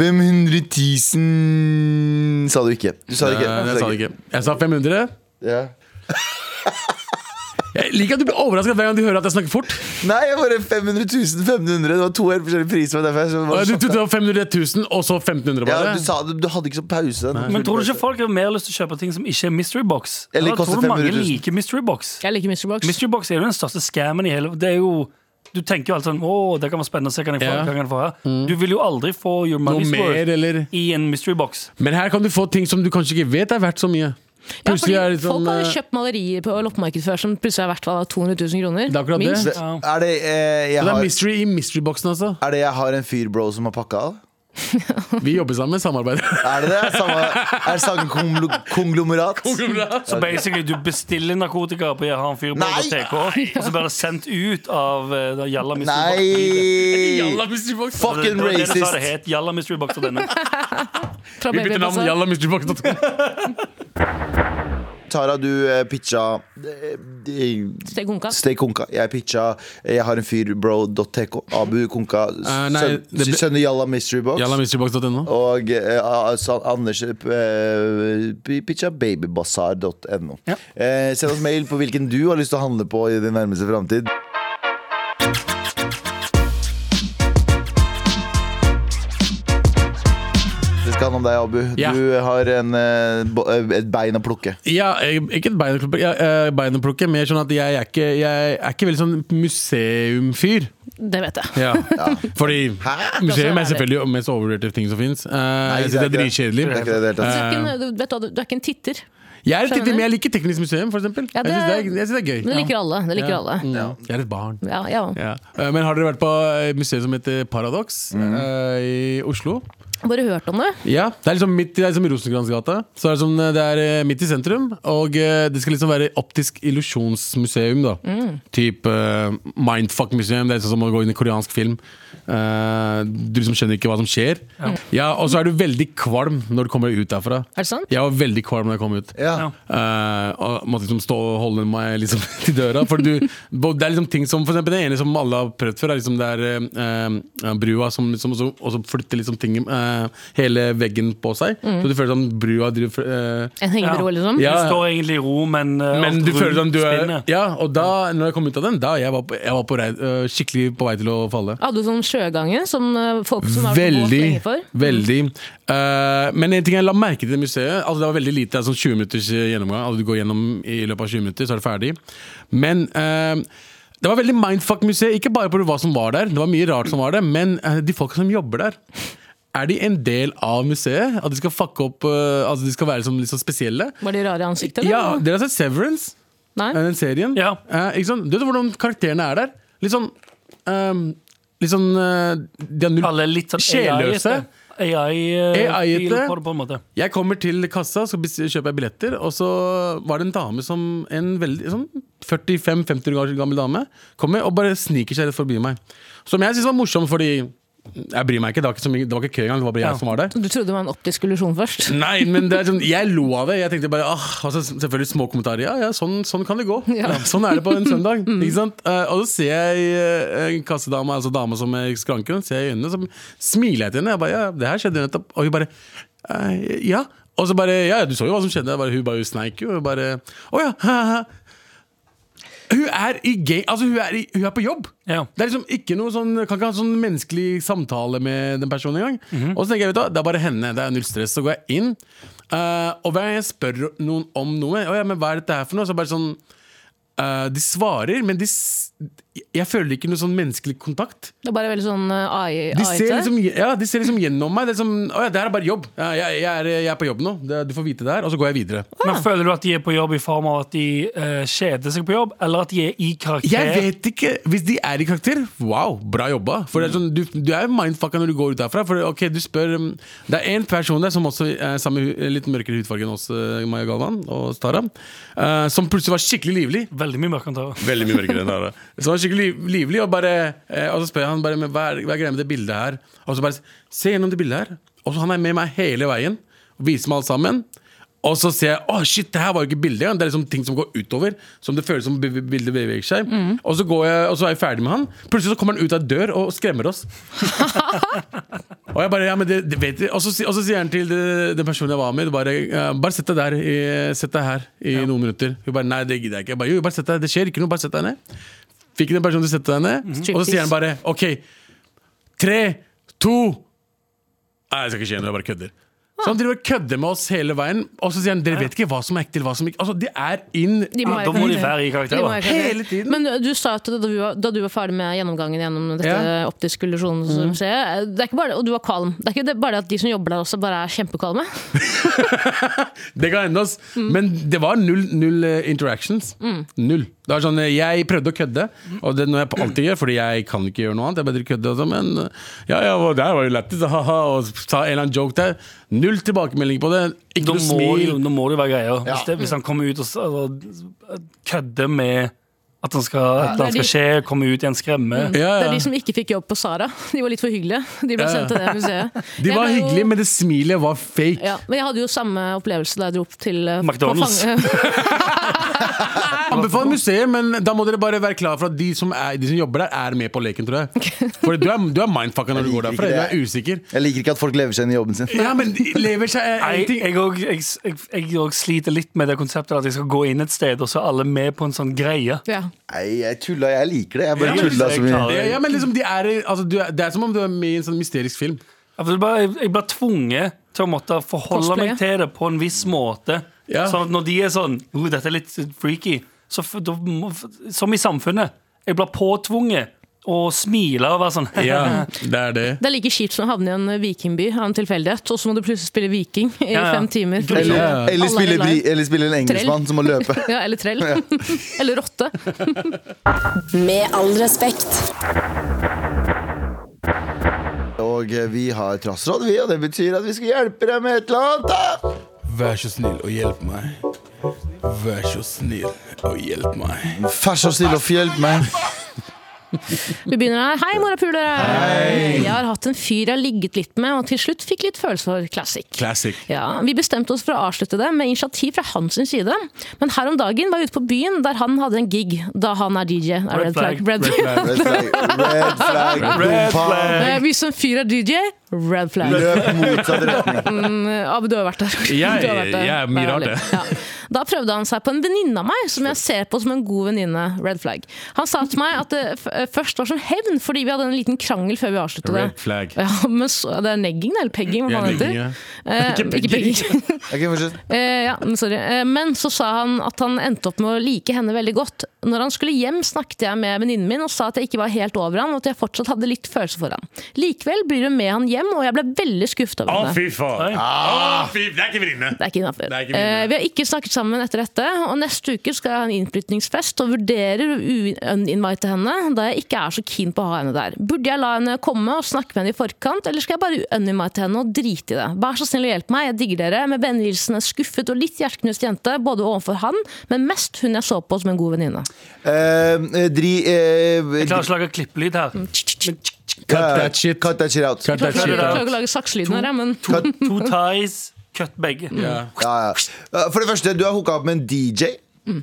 S2: 500 000 sa du ikke. Du sa det ikke.
S3: Nei, jeg sa det ikke. Jeg sa 500.
S2: Ja.
S3: Jeg liker at du blir overrasket hver gang du hører at jeg snakker fort.
S2: Nei, jeg bare 500 000, 500 Det var to helt forskjellige priser. og Derfor jeg så
S3: Og
S2: var
S3: Du
S2: sjokk.
S3: trodde det var 500 000, og så 1500
S2: ja,
S3: bare.
S2: du, sa, det, du hadde ikke så pause den.
S4: Men tror du ikke folk har mer lyst til å kjøpe ting som ikke er mystery box?
S2: Eller
S4: Eller
S2: koster
S4: tror du mange
S2: 500 000?
S4: liker mystery box?
S5: Jeg liker Mr. Box.
S4: Mystery box er jo den største scammen i hele Det er jo du tenker jo alltid sånn Å, det kan være spennende å se hva jeg får,
S3: Ja. Mm.
S4: hva kan jeg få her. Du vil jo aldri få your
S3: Noe
S4: money's
S3: mer,
S4: worth
S3: eller
S4: i en mystery box.
S3: Men her kan du få ting som du kanskje ikke vet er verdt så mye.
S5: Ja,
S3: Plutselig
S5: fordi
S3: er det sånn
S5: folk har jo
S3: eh,
S5: kjøpt malerier på loppemarked før som plutselig er verdt hva, 200 000 kroner.
S3: Det er akkurat
S5: minst.
S3: det.
S4: Ja.
S2: Er det, eh, jeg
S3: Det er
S2: har,
S3: mystery i mystery-boksen, altså.
S2: er det jeg har en fyr, bro, som har pakka av?
S3: Vi jobber sammen, samarbeider.
S2: Er det det? Samme, er det samme konglo- konglomerat?
S4: Så basically, du bestiller narkotika på Jeg har en fyr på
S2: Nei!
S4: TK, og så blir det sendt ut av eh, da Jalla Mystery Box.
S2: Nei!
S3: Jalla mystery-box!
S2: Fucking
S4: Det var det det sa det
S2: racist!
S4: het. Jalla Mystery Box og denne.
S5: Fra
S3: Vi bytter
S5: Baby
S3: navn.
S5: Bazaar.
S3: Jalla mystery-box.
S2: Tara, du eh, pitcha eh, de-
S5: Steg Honka.
S2: Stay konka. Jeg pitcha eh, Jeg har en fyr, bro.tk. Abu konka.
S3: Eh, nei,
S2: sønn-
S3: det ble-
S2: Sønne Jalla Mystery Box.
S3: Jalla mysterybox.no.
S2: Og eh, altså, Anders eh, p- pitcha babybasar.no.
S4: Ja.
S2: Eh, send oss mail på hvilken du har lyst til å handle på i din nærmeste framtid. Det skal handle om deg, Abu.
S3: Ja.
S2: Du har en, eh, bo- eh, et bein å plukke.
S3: Ja, eh, ikke et beinplukke, ja, eh, beinplukke, mer sånn at jeg er ikke, jeg er ikke veldig sånn museumfyr.
S5: Det vet jeg.
S3: Ja. Fordi museum er selvfølgelig det mest overrated ting som fins.
S2: Nei,
S3: det er
S2: ikke
S3: dritkjedelig. Eh,
S2: Det er ikke det i det hele
S5: Du
S2: tatt.
S5: er, ikke en, du, vet hva, du du er ikke en titter,
S3: Jeg er et
S5: Skjønner.
S3: titter, men jeg liker teknisk museum, for eksempel.
S5: Ja, det
S3: jeg syns det,
S5: er-
S3: er- jeg synes det er gøy.
S5: men det liker alle. Det liker alle.
S3: Mm. Jeg er et barn.
S5: Ja, ja.
S3: Ja. Eh, Men har dere vært på et museum som heter Paradox eh, i Oslo?
S5: Bare hørt om det.
S3: Ja, det er liksom midt i, det er liksom i Rosengransgata. Så er det, sånn, det er eh, midt i sentrum, og eh, det skal liksom være optisk illusjonsmuseum. da
S5: Mm.
S3: Typ eh, mindfuck-museum. Det er sånn som å gå inn i koreansk film. Eh, du liksom skjønner ikke hva som skjer. Ja, Og så er du veldig kvalm når du kommer ut derfra.
S5: Er det sant?
S3: Jeg var veldig kvalm da jeg kom ut.
S2: Ja.
S4: Ja.
S3: Eh, og måtte liksom stå og holde meg liksom til døra. For du, bo- det er liksom ting som For eksempel det ene som alle har prøvd før, er liksom det er eh, eh, brua som liksom også, også flytter liksom ting eh, Hele veggen på seg. Så du føler som brua driver eh,
S5: En hengebro,
S4: Ja.
S5: liksom.
S4: Du
S3: Ja.
S4: står egentlig i ro, men, eh,
S3: men
S4: alt
S3: du føler som
S4: rundt
S3: du er
S4: spinner.
S3: Ja, og da når jeg kom ut av den, da jeg var, på, jeg var på rei, eh, skikkelig på vei til å falle.
S5: Hadde du sånn sjøgange som eh, folk som har vært
S3: Veldig.
S5: lenge for?
S3: veldig Eh, Men en ting jeg la merke til det museet altså Det var veldig lite, det er sånn 20 minutters eh, gjennomgang. Altså du går gjennom i løpet av 20 minutter, så er det ferdig. Men eh, det var veldig mindfuck-museet, ikke bare på hva som var der. Det var mye rart som var der, men eh, de folka som jobber der er de en del av museet? At de skal fucke opp eh, Altså de skal være sånn, litt sånn spesielle?
S5: Var de rare i ansiktet? eller?
S3: Ja, Dere har sett Severance?
S5: Nei?
S3: Eh, den serien.
S4: Ja.
S3: Eh, ikke sant? Du vet hvordan karakterene er der? Litt sånn ehm, Litt sånn eh, De har null
S4: Alle er litt sånn
S3: Sjelløse.
S4: AI-ete.
S3: AI-ete.
S4: AI eh, på det, på en måte.
S3: Jeg kommer til kassa, så bes- kjøper jeg billetter, og så var det en dame som En veldig sånn 45-50 år gammel dame kommer og bare sniker seg rett forbi meg. Som jeg syns var morsom, fordi jeg bryr meg ikke. Det var ikke, så mye, det var ikke kø engang. Det var bare jeg
S4: Ja.
S3: som var der.
S5: Du trodde det var en optisk illusjon først?
S3: Nei, men det er sånn, jeg lo av det. Jeg tenkte bare, ah, altså, Selvfølgelig små kommentarer. Ja, ja, sånn, sånn kan det gå.
S5: Ja.
S3: Ja. Sånn er det på en søndag. ikke sant? Eh, og så ser jeg eh, en kassedame, altså dama som er i skranken, ser jeg i øynene, så smiler jeg til henne. Jeg bare, ja, det her skjedde jo nettopp. Og hun bare, eh, ja. Og så bare, ja, ja, du så jo hva som skjedde. Jeg Bare, hun bare hun sneik jo. Hun bare, å ja, ha, ha. Hun er i gay, altså hun er, i, hun er på jobb.
S4: Ja.
S3: Det er liksom ikke noe sånn, kan ikke ha sånn menneskelig samtale med den personen engang. Og så tenker jeg, vet du, hva, det er bare henne, det er null stress. Så går jeg inn, eh, og hver gang jeg spør noen om noe, «Å ja, men hva er dette her for noe? Så er det bare sånn, eh, de svarer, men de, s- jeg føler ikke noe sånn menneskelig kontakt.
S5: Det er bare veldig sånn eh, AI
S3: De
S5: AI-ete?
S3: ser liksom, ja, de ser liksom gjennom meg. Det er som, å ja, det her er bare jobb. Ja, jeg, jeg, er, jeg er på jobb nå, det, du får vite det her. Og så går jeg videre.
S4: Men Føler du at de er på jobb i form av at de eh, kjeder seg på jobb, eller at de er i karakter?
S3: Jeg vet ikke. Hvis de er i karakter, wow, bra jobba. For det er sånn, du, du er mindfucka når du går ut derfra. For ok, du spør um, Det er én person der som også er samme hu- litt mørkere hudfarge enn oss, eh, Maya Galvan og Tara, eh, som plutselig var skikkelig livlig.
S4: Veldig mye mørkantere.
S3: Veldig mye mørkere enn Tara. Så han var skikkelig liv, livlig, og, bare, eh, og så spør han bare, «Men hva er, hva er greia med det bildet her. Og så bare se gjennom det bildet her. Og så han er med meg hele veien og viser meg alt sammen. Og så ser jeg å shit, det her var jo ikke bildet engang. Det er liksom ting som går utover. Som det føles som be- be- bildet beveger seg. Og, så går jeg, og så er jeg ferdig med han. Plutselig så kommer han ut av dør og skremmer oss. Og jeg bare, ja, men det, det vet jeg. Og så si- og så sier han til det- den personen jeg var med, bare, eh, bare sett deg der, i, sett deg her i noen minutter. Hun bare, nei, det gidder jeg ikke. Jeg bare, jo, bare sett deg, det skjer ikke noe, bare sett deg ned. Fikk den personen til å sette deg ned, og så sier han bare, ok, tre, to, nei, det skal ikke skje noe, jeg bare kødder. Så han driver og kødder med oss hele veien, og så sier han, dere vet ikke hva som er ekte, eller hva som ikke, altså, det er inn
S5: De må
S4: Da må de være i karakter.
S5: De må
S4: da.
S5: være i karakter.
S3: Hele tiden.
S5: Men eh, du sa at da du var, da du var ferdig med gjennomgangen gjennom dette
S3: Ja. Mhm.
S5: optisk illusjonsmuseet, eh, det er ikke bare, og du var kvalm, det er ikke det, bare det at de som jobber der også bare er kjempekvalme.
S3: Det ga enda oss.
S5: Mm.
S3: Men det var null, null eh, interactions. Null. Det var sånn, eh, Jeg prøvde å kødde,
S5: Mm.
S3: og det er noe jeg alltid gjør, fordi jeg kan ikke gjøre noe annet. Jeg bare kødde og sånn, men eh, ja, ja, og der var jo lættis, haha, og sa en eller annen joke der. Null tilbakemelding på det.
S4: Da
S3: Ikke noe
S4: må, det jo,
S3: smil.
S4: da må det jo være greier.
S2: Ja.
S4: Hvis, det, hvis han kommer ut og s- altså, kødder med at han skal, at
S5: Det er
S4: han skal
S5: de-
S4: skje, komme ut i en skremme
S3: Ja,
S5: Det er
S3: ja.
S5: de som ikke fikk jobb på Sara. De var litt for hyggelige. De ble
S3: Ja.
S5: sendt til det museet.
S3: De
S5: Jeg
S3: var
S5: ble jo-
S3: hyggelige, men det smilet var fake.
S5: ja, Men jeg hadde jo samme opplevelse da jeg dro opp til eh,
S4: McDonald's.
S5: på fang-
S3: Anbefaler museet, men da må dere bare være klar for at de som, er, de som jobber der, er med på leken, tror jeg. For du er, du er mindfucka når du går
S2: Jeg liker
S3: derfra.
S2: ikke
S3: Du
S2: det.
S3: er usikker.
S2: Jeg liker ikke at folk lever seg inn i jobben sin.
S3: Ja, men lever seg er
S4: Nei,
S3: en ting.
S4: jeg, og, jeg, jeg, jeg og sliter litt med det konseptet at jeg skal gå inn et sted, og så er alle med på en sånn greie.
S5: ja.
S2: Nei, jeg tulla. Jeg liker det. Jeg bare
S4: Ja,
S2: tulla
S4: jeg
S2: så mye.
S4: klarer
S3: Ja, ja, men liksom, de er, i- altså, du er, det er som om du er med i en sånn mysterisk film.
S4: Jeg blir bare, jeg blir tvunget til å måtte forholde
S5: Cosplaye.
S4: meg til det på en viss måte.
S3: Ja.
S4: Sånn at når de er sånn oh, 'Dette er litt freaky', så, f- da må, f- som i samfunnet. Jeg blir påtvunget å smile og være sånn
S3: det er det.
S5: Det er like kjipt som å havne i en eh, vikingby av en tilfeldighet, og så må du plutselig spille viking i
S4: Ja, ja.
S5: fem timer.
S4: Eller-
S5: Alle
S2: Eller,
S5: er
S2: eller, spille,
S5: glad i-
S2: bri- eller spille en engelskmann som må løpe.
S5: Ja, eller trell. eller rotte.
S1: Med all respekt.
S2: Og eh, vi har trassråd, vi, og det betyr at vi skal hjelpe deg med et eller annet. da.
S3: Vær så snill og hjelp meg. Vær så snill og hjelp meg.
S2: Vær så snill og hjelp meg.
S5: Vi begynner her. Hei, morapuler! Jeg har hatt en fyr jeg har ligget litt med, og til slutt fikk litt følelse for classic.
S3: Classic.
S5: Ja, Vi bestemte oss for å avslutte det med initiativ fra hans sin side. Men her om dagen var jeg ute på byen der han hadde en gig, da han er DJ. Er
S4: Red flag,
S5: Red flag.
S2: Red flag, red flag,
S4: Red
S2: bompa.
S4: flag.
S5: Eh, Hvis en fyr er DJ, red flag.
S2: Løp motsatt retning.
S5: Eh, Abu, du har vært der. Du
S3: Jeg-
S5: har vært der.
S3: jeg er mye
S5: Ja,
S3: rart,
S5: litt.
S3: jeg.
S5: Ja. Da prøvde han seg på en venninne av meg, som jeg ser på som en god venninne. Red flag. Han sa til meg at det f eh, først var som hevn, fordi vi hadde en liten krangel før vi avsluttet det.
S3: Red flag.
S5: Ja, men så, det er negging, eller pegging, hva
S3: Ja,
S5: faen heter
S3: negging, ja.
S5: Eh,
S3: Ikke
S5: Ikke
S3: pegging.
S5: pegging.
S2: Ok, fortsett.
S5: Eh, ja, men sorry. Eh, men så sa han at han endte opp med å like henne veldig godt. Når han skulle hjem, snakket jeg med venninnen min og sa at jeg ikke var helt over han, og at jeg fortsatt hadde litt følelser for han. Likevel blir hun med han hjem, og jeg ble veldig skuffet over henne.
S3: fy faen. Å, fy, det er ikke venninne.
S5: Det er ikke innenfor.
S3: Det er ikke mine.
S5: Eh, vi har ikke snakket sammen etter dette, og neste uke skal jeg ha en innflytningsfest og vurderer å u- uninvite henne, da jeg ikke er så keen på å ha henne der. Burde jeg la henne komme og snakke med henne i forkant, eller skal jeg bare uninvite henne og drite i det? Vær så snill og hjelp meg, jeg digger dere. Med vennehilsen en skuffet og litt hjerteknust jente, både overfor han, men mest hun jeg så på som en god venninne.
S2: Eh, eh, dri... eh,
S4: Jeg klarer ikke å lage klippelyd her.
S5: Mm.
S3: Cut that shit.
S2: Cut that shit out.
S3: Cut that
S5: Jeg
S3: shit.
S5: klarer ikke å lage sakselyden her, jeg, men
S4: To, to ties, cut begge.
S3: Ja.
S2: Ja, ja. Eh, For det første, du har hooka opp med en DJ.
S5: Mm.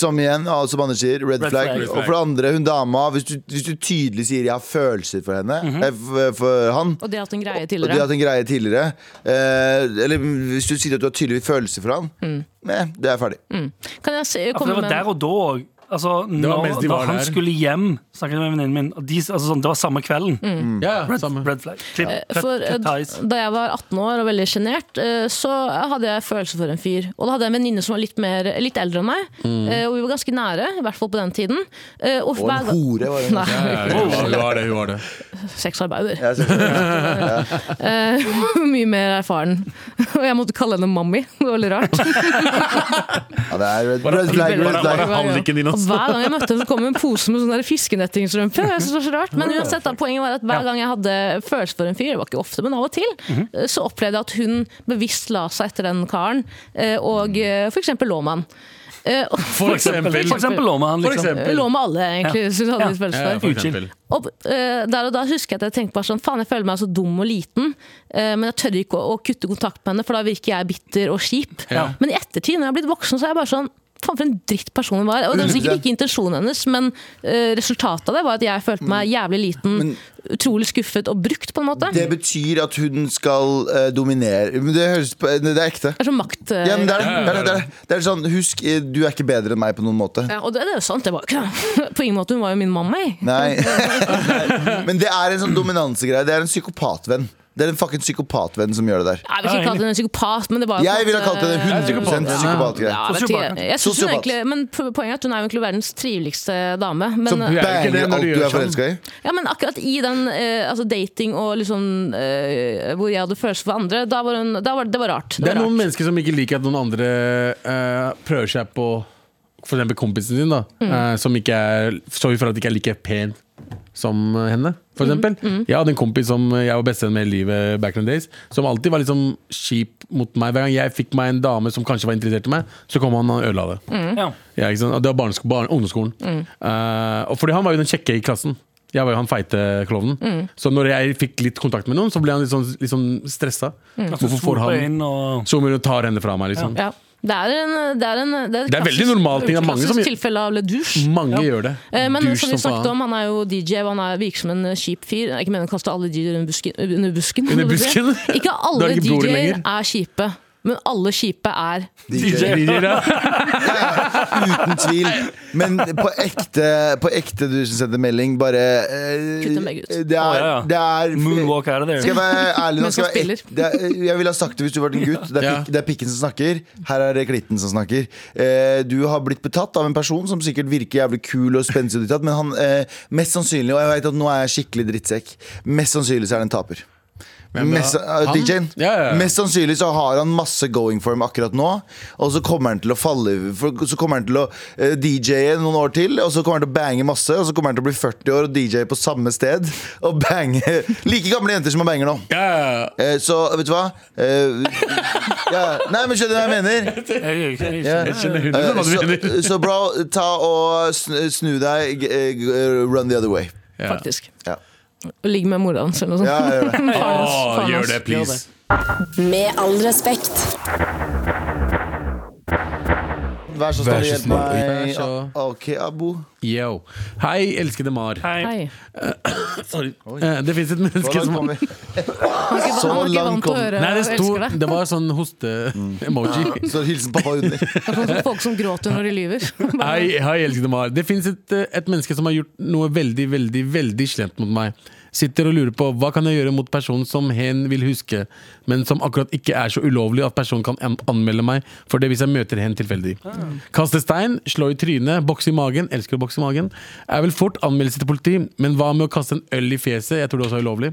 S2: Som igjen, ja, som Anders sier, red,
S4: Red
S2: flag.
S4: flag.
S2: Og for det andre, hun dama, hvis du, hvis du tydelig sier 'jeg har følelser for henne', eh, for, for han,
S5: Og det at hun greier
S2: Og de har
S5: tidligere.
S2: hatt en greie tidligere. Eh, eller hvis du sier at du har tydeligvis følelser for han,
S5: Mm.
S2: nei, det er ferdig.
S5: Kan jeg se,
S4: Ja, for
S5: komme
S4: det var
S5: med
S4: der og da òg. Altså,
S3: mens
S4: når
S3: de
S4: da
S3: var
S4: han
S3: der.
S4: skulle hjem, snakket jeg med venninnen min, og de, altså, sånn, det var samme kvelden.
S3: Ja, ja,
S4: Red,
S3: samme.
S4: red flag. Klipp, cut,
S5: For, Mm. eh,
S4: cut ties.
S5: da jeg var 18 år og veldig sjenert, eh, så hadde jeg følelser for en fyr. Og da hadde jeg en venninne som var litt, mer, litt eldre enn meg, eh, og vi var ganske nære, i hvert fall på den tiden. Eh, Og
S2: Og
S5: hver
S2: en
S5: gang-
S2: hore var det.
S5: Nei,
S3: Ja, ja, Hun var- hun var det, hun var det.
S5: sexarbeider.
S2: Jeg synes det.
S5: Eh, mye mer erfaren. Og jeg måtte kalle henne mammi. Det var veldig rart.
S2: Ja, det er red, red flag, red
S3: Bare
S2: flag.
S3: halliken din
S5: Og
S3: også.
S5: hver gang jeg møtte henne, så kom hun med en pose med sånne der fiskenettingstrømper. Jeg synes det var så rart. Men uansett, da, poenget var at hver gang jeg hadde følelser for en fyr, det var ikke ofte, men av og til, så eh, opplevde jeg at hun bevisst la seg etter den karen, eh, og f.eks. lå med han. Eh, og-
S3: For eksempel.
S4: For eksempel Låmehandel.
S3: For
S4: Liksom.
S5: Sånn, Lå med alle, egentlig. hvis du hadde litt følelse
S3: Ja,
S5: for.
S3: for eksempel.
S5: Og eh, der og da husker jeg at jeg tenkte bare sånn Faen, jeg føler meg så dum og liten, eh, men jeg tør ikke å, å kutte kontakt med henne, for da virker jeg bitter og kjip.
S3: Ja.
S5: Men i ettertid, når jeg har blitt voksen, så er jeg bare sånn Faen, for en drittperson hun var. Og det var sikkert ikke intensjonen hennes, men eh, resultatet av det var at jeg følte meg jævlig liten, utrolig skuffet og brukt, på en måte.
S2: Det betyr at hun skal eh, dominere Men det, høres, på- det er ekte.
S5: Det er sånn makt... eh,
S2: Ja, men det, er, det,
S3: Ja, ja,
S2: er, det, er, det er sånn, husk, eh, du er ikke bedre enn meg på noen måte.
S5: ja, og det, det er jo sant, det var jo ikke det. På ingen måte, hun var jo min mamma. Jeg.
S2: Nei. Nei. Men det er en sånn dominansegreie. Det er en psykopatvenn. Det er en fucking psykopatvenn som gjør det der.
S5: Jeg vil ikke
S4: Ja,
S5: kalle henne en psykopat, men det var jo på en
S2: Jeg ville
S5: måte-
S2: kalt det en 100 psykopatgreie.
S5: Ja, jeg vet
S4: Sosiopat,
S5: ikke. Jeg synes hun
S2: Sosiopat.
S5: egentlig, men po- poenget er at hun er jo egentlig verdens triveligste dame. Men,
S2: Som
S3: er ikke det
S2: banger
S3: når
S2: alt
S3: du
S2: du
S3: gjør sånn.
S2: er forelska i.
S5: ja, men akkurat i den eh, altså dating og liksom eh, hvor jeg hadde følelser for andre, da var hun, da var, det var rart.
S3: Det
S5: Det
S3: er
S5: var
S3: noen
S5: rart.
S3: mennesker som ikke liker at noen andre eh, prøver seg på for eksempel kompisen din, da. eh, som ikke er Sorry for at de ikke er like pen som eh, henne, for eksempel. Jeg hadde en kompis som jeg var bestevenn med i livet back in the days, som alltid var liksom kjip mot meg. Hver gang jeg fikk meg en dame som kanskje var interessert i meg, så kom han og ødela det.
S4: Ja.
S3: Ja, ikke sant? Og Det var barnesko- barne, ungdomsskolen. Eh, og fordi han var jo den kjekke i klassen. Jeg var jo han feite klovnen. Så når jeg fikk litt kontakt med noen, så ble han litt sånn, litt sånn stressa. Hvorfor får
S4: Sopa
S3: han
S4: Inn og
S3: så hun tar henne fra meg, liksom.
S5: Ja. Det er en Det er, en, det
S3: Det er veldig normal ting, det er mange som-
S5: klassisk tilfelle av le douche.
S3: Mange gjør det.
S5: Eh, Men
S3: Douche
S5: som vi
S3: faen.
S5: snakket om, han er jo DJ, og han er, virker som en eh, kjip fyr. Jeg ikke mener å kaste alle DJ-er under busken. Under busken,
S3: Under busken?
S5: ikke
S3: Da
S5: alle
S3: er det ikke broren
S5: DJ-er
S3: lenger.
S5: er kjipe, men alle kjipe er
S2: DJ.
S3: DJ, ja.
S2: Uten tvil. Men på ekte, på ekte du som sendte melding, bare eh,
S5: Kutt dem begge ut.
S2: Det
S4: Å,
S2: er,
S4: ja.
S2: det er
S4: Moonwalk out of there.
S2: Skal jeg være ærlig nå?
S5: Men som
S2: Skal jeg, være ek- det er, jeg ville ha sagt det hvis du var en gutt. Det er,
S3: Ja.
S2: pik, det er pikken som snakker. Her er det klitten som snakker. Eh, du har blitt betatt av en person som sikkert virker jævlig kul og spenstig, og ditt og datt, men han eh, mest sannsynlig, og jeg vet at nå er jeg skikkelig drittsekk, mest sannsynlig så er det en taper.
S3: da?
S2: Mest, uh,
S3: Han?
S2: DJ-en.
S3: Ja, ja, ja.
S2: Mest sannsynlig så har han masse going for him akkurat nå, og så kommer han til å falle for, Så kommer han til å eh, DJ-e noen år til, og så kommer han til å bange masse, og så kommer han til å bli 40 år og DJ på samme sted, og bange like gamle jenter som han banger nå.
S3: Ja, ja, ja.
S2: Eh, Så vet du hva? Eh, ja. Nei, men skjønner du hva jeg mener?
S4: Jeg- jeg- jeg-
S2: Ja.
S3: Jeg skjønner hundre
S2: Eh,
S3: hva du
S2: Så,
S3: mener.
S2: så bro, ta og snu, snu deg. g- eh, Run the other way.
S3: Ja.
S5: faktisk.
S2: Ja.
S5: Ligg med mora hans eller noe sånt.
S2: Ja, ja, ja.
S5: Faen, ass.
S3: Åh,
S5: Faen, ass.
S3: gjør det, please.
S1: Med all respekt.
S2: Vær så snill,
S3: så
S2: hjelp
S3: snill.
S2: meg.
S3: Vær så-
S2: OK, Abo.
S3: Yo. Hei, elskede Mar.
S4: Hei.
S5: Hei.
S3: Sorry. Eh, Det fins et menneske
S2: Så
S3: som
S2: langt kom vi.
S5: Han er ikke,
S2: Så
S5: han er ikke
S2: lang
S5: vant til å
S2: kom-
S5: høre
S3: Nei, det,
S5: «Jeg
S3: sto,
S5: elsker deg».
S3: det var sånn hoste-emoji.
S2: Så hilsen pappa under.
S5: Det er sånn som folk som gråter når de lyver.
S3: Hei, hei, elskede Mar. Det fins et, eh, et menneske som har gjort noe veldig, veldig veldig slemt mot meg. Sitter og lurer på hva kan jeg gjøre mot personen som hen vil huske, men som akkurat ikke er så ulovlig at personen kan an- anmelde meg for det hvis jeg møter hen tilfeldig. Kaste stein, slå i trynet, bokse i magen. Elsker å bokse i magen. Er vel fort anmeldelse til politi, men hva med å kaste en øl i fjeset? Jeg tror det også er ulovlig.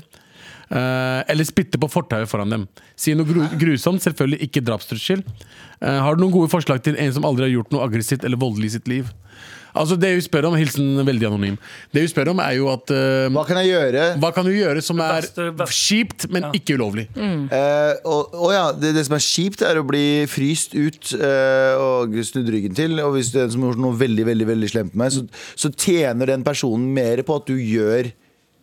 S3: Eh, eller spytte på fortauet foran dem. Si noe gru grusomt, selvfølgelig ikke drapstrussel. Eh, har du noen gode forslag til en som aldri har gjort noe aggressivt eller voldelig i sitt liv? Altså Det hun spør om, hilsen veldig anonym. Det hun spør om, er jo at eh,
S2: Hva kan jeg gjøre?
S3: Hva kan du gjøre som er
S4: beste- best-
S3: kjipt, men ikke ulovlig?
S4: Mm.
S2: Eh, og, og ja, det, det som er kjipt, er å bli fryst ut eh, og snudd ryggen til. Og hvis det er en som har gjort noe veldig veldig, veldig slemt med meg, så, så tjener den personen mer på at du gjør,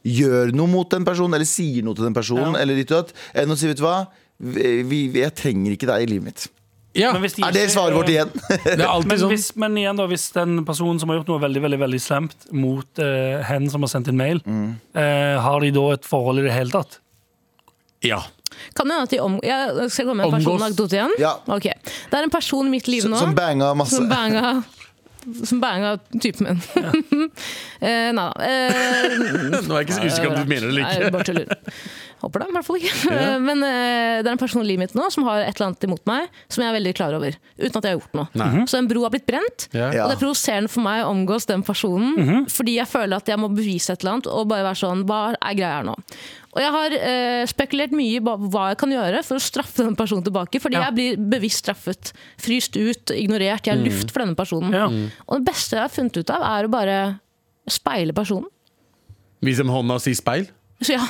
S2: gjør noe mot den personen, eller sier noe til den personen, eller ditt og datt, enn å si, vet du hva, vi, vi- jeg trenger ikke deg i livet mitt.
S3: Ja,
S4: Men hvis de
S2: Er det
S4: ikke-
S2: svaret vårt igjen?
S3: det er alltid
S4: Men,
S3: sånn.
S4: hvis, men igjen da, hvis den personen som har gjort noe veldig veldig, veldig slemt mot eh, hen som har sendt inn mail,
S2: Mm.
S4: eh, har de da et forhold i det hele tatt?
S3: Ja.
S5: Kan det hende at de om... Jeg skal komme med en
S3: Omgås.
S5: personanekdote igjen?
S2: Ja.
S5: Ok. Det er en person i mitt liv nå
S2: Som banga masse.
S5: som banga som banga typen min. eh, nei da. Eh,
S3: Nå er jeg ikke så usikker om du mener det eller
S5: Nei,
S3: ikke.
S5: bare tuller. Håper det, i hvert fall ikke.
S3: Ja.
S5: Men eh, det er en person i livet mitt nå som har et eller annet imot meg som jeg er veldig klar over. Uten at jeg har gjort noe.
S3: Nei.
S5: Så en bro har blitt brent.
S3: Ja. Mhm.
S2: Ja.
S5: Og det er provoserende for meg å omgås den personen, fordi jeg føler at jeg må bevise et eller annet, og bare være sånn, hva er greia her nå? Og jeg har eh, spekulert mye i ba- hva jeg kan gjøre for å straffe den personen tilbake, fordi
S4: Ja.
S5: jeg blir bevisst straffet, fryst ut, ignorert,
S3: Mhm.
S5: jeg har luft for denne personen.
S4: Ja.
S5: Og det beste jeg har funnet ut av er å bare speile personen.
S3: Vise dem hånda og si speil.
S5: Så ja.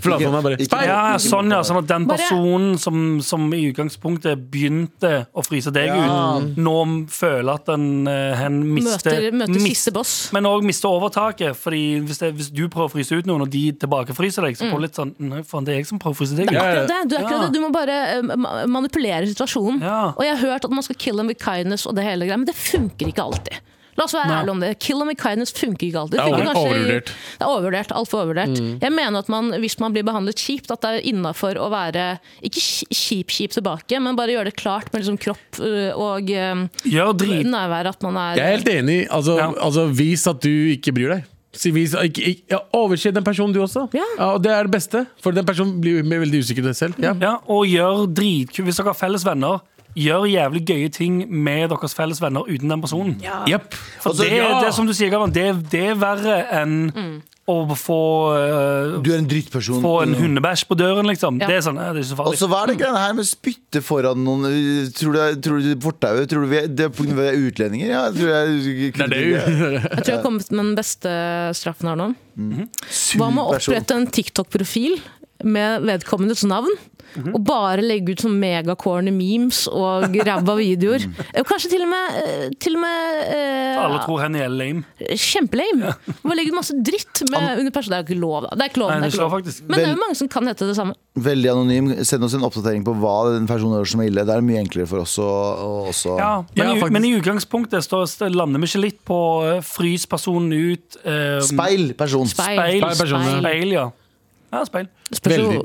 S3: Flatvann er bare
S2: Ikke-
S3: speil!
S4: Ja, sånn, ja. Sånn at den
S5: Bare-
S4: personen som, som i utgangspunktet begynte å fryse deg ut, nå føler at den, eh, hen mister
S5: Møter, møter
S4: mis-
S5: siste boss.
S4: Men òg miste overtaket. Fordi hvis, det, hvis du prøver å fryse ut noen, og de tilbakefryser deg, så får du litt sånn Nei, faen, det er jeg som prøver å fryse deg ut.
S3: Ja, ja.
S5: Akkurat det. Du, er akkurat
S4: Ja.
S5: det. du må bare eh, ma- manipulere situasjonen.
S4: Ja.
S5: Og jeg har hørt at man skal kill them with kindness og det hele greia, men det funker ikke alltid. La oss være
S4: Nei.
S5: ærlige om det. Kill them with kindness funker ikke alltid.
S3: Det er
S5: funker
S3: over- Mm.
S5: kanskje i-
S3: overvurdert.
S5: Det er overvurdert. Altfor overvurdert. Jeg mener at man, hvis man blir behandlet kjipt, at det er innafor å være ikke kjip-kjip tilbake, men bare gjøre det klart med liksom kropp øh, og øh,
S4: Gjør drit.
S5: nærvær at man er
S3: Jeg er helt enig. Altså,
S4: Ja.
S3: altså, vis at du ikke bryr deg. Si, vis, ikke, ikke, ja, overse den personen, du også.
S5: Ja.
S3: og det er det beste. For den personen blir jo veldig usikker selv. Ja.
S4: Ja, og gjør dritkul Hvis dere har felles venner, gjør jævlig gøye ting med deres felles venner uten den personen.
S3: Jepp.
S4: For
S2: Altså,
S4: det,
S2: ja.
S4: det er som du sier, Gavan, det, det er verre enn å få øh,
S2: Du er en drittperson.
S4: Få en hundebæsj på døren, liksom.
S5: Ja.
S4: Det er sånn, eh, det er ikke så
S2: Og
S4: farlig.
S2: så hva er det greiene her med spytte foran noen uh, Tror du, tror du fortauet? Tror du vi er, det er på grunn av at vi er utlendinger? Ja, jeg tror jeg
S3: Det er det.
S5: Jeg tror jeg har kommet med den beste straffen her nå. Hva med å
S2: Superperson.
S5: opprette en TikTok-profil med vedkommendes navn? Og bare legge ut sånn megacorny memes og ræva videoer. Eh, Kanskje til og med, eh, til og med eh,
S4: Alle tror henne er lame.
S5: Kjempelame. Bare legge ut masse dritt med, under person. Det er jo ikke lov, da. Det er ikke lov,
S4: Nei,
S5: det er
S4: det
S5: ikke
S4: slår
S5: lov.
S4: faktisk.
S5: Men det er jo mange som kan hete det samme.
S2: Veldig anonym. Send oss en oppdatering på hva den personen gjør som er ille. Det er mye enklere for oss å å også
S4: Ja, men,
S3: Ja,
S4: i,
S3: faktisk.
S4: men i utgangspunktet står, st- lander vi ikke litt på eh, frys personen ut. eh,
S2: Speil person.
S5: Speil.
S4: Speil,
S3: Speil personen,
S5: speil.
S4: speil, ja. Ja, speil.
S5: Spørs jo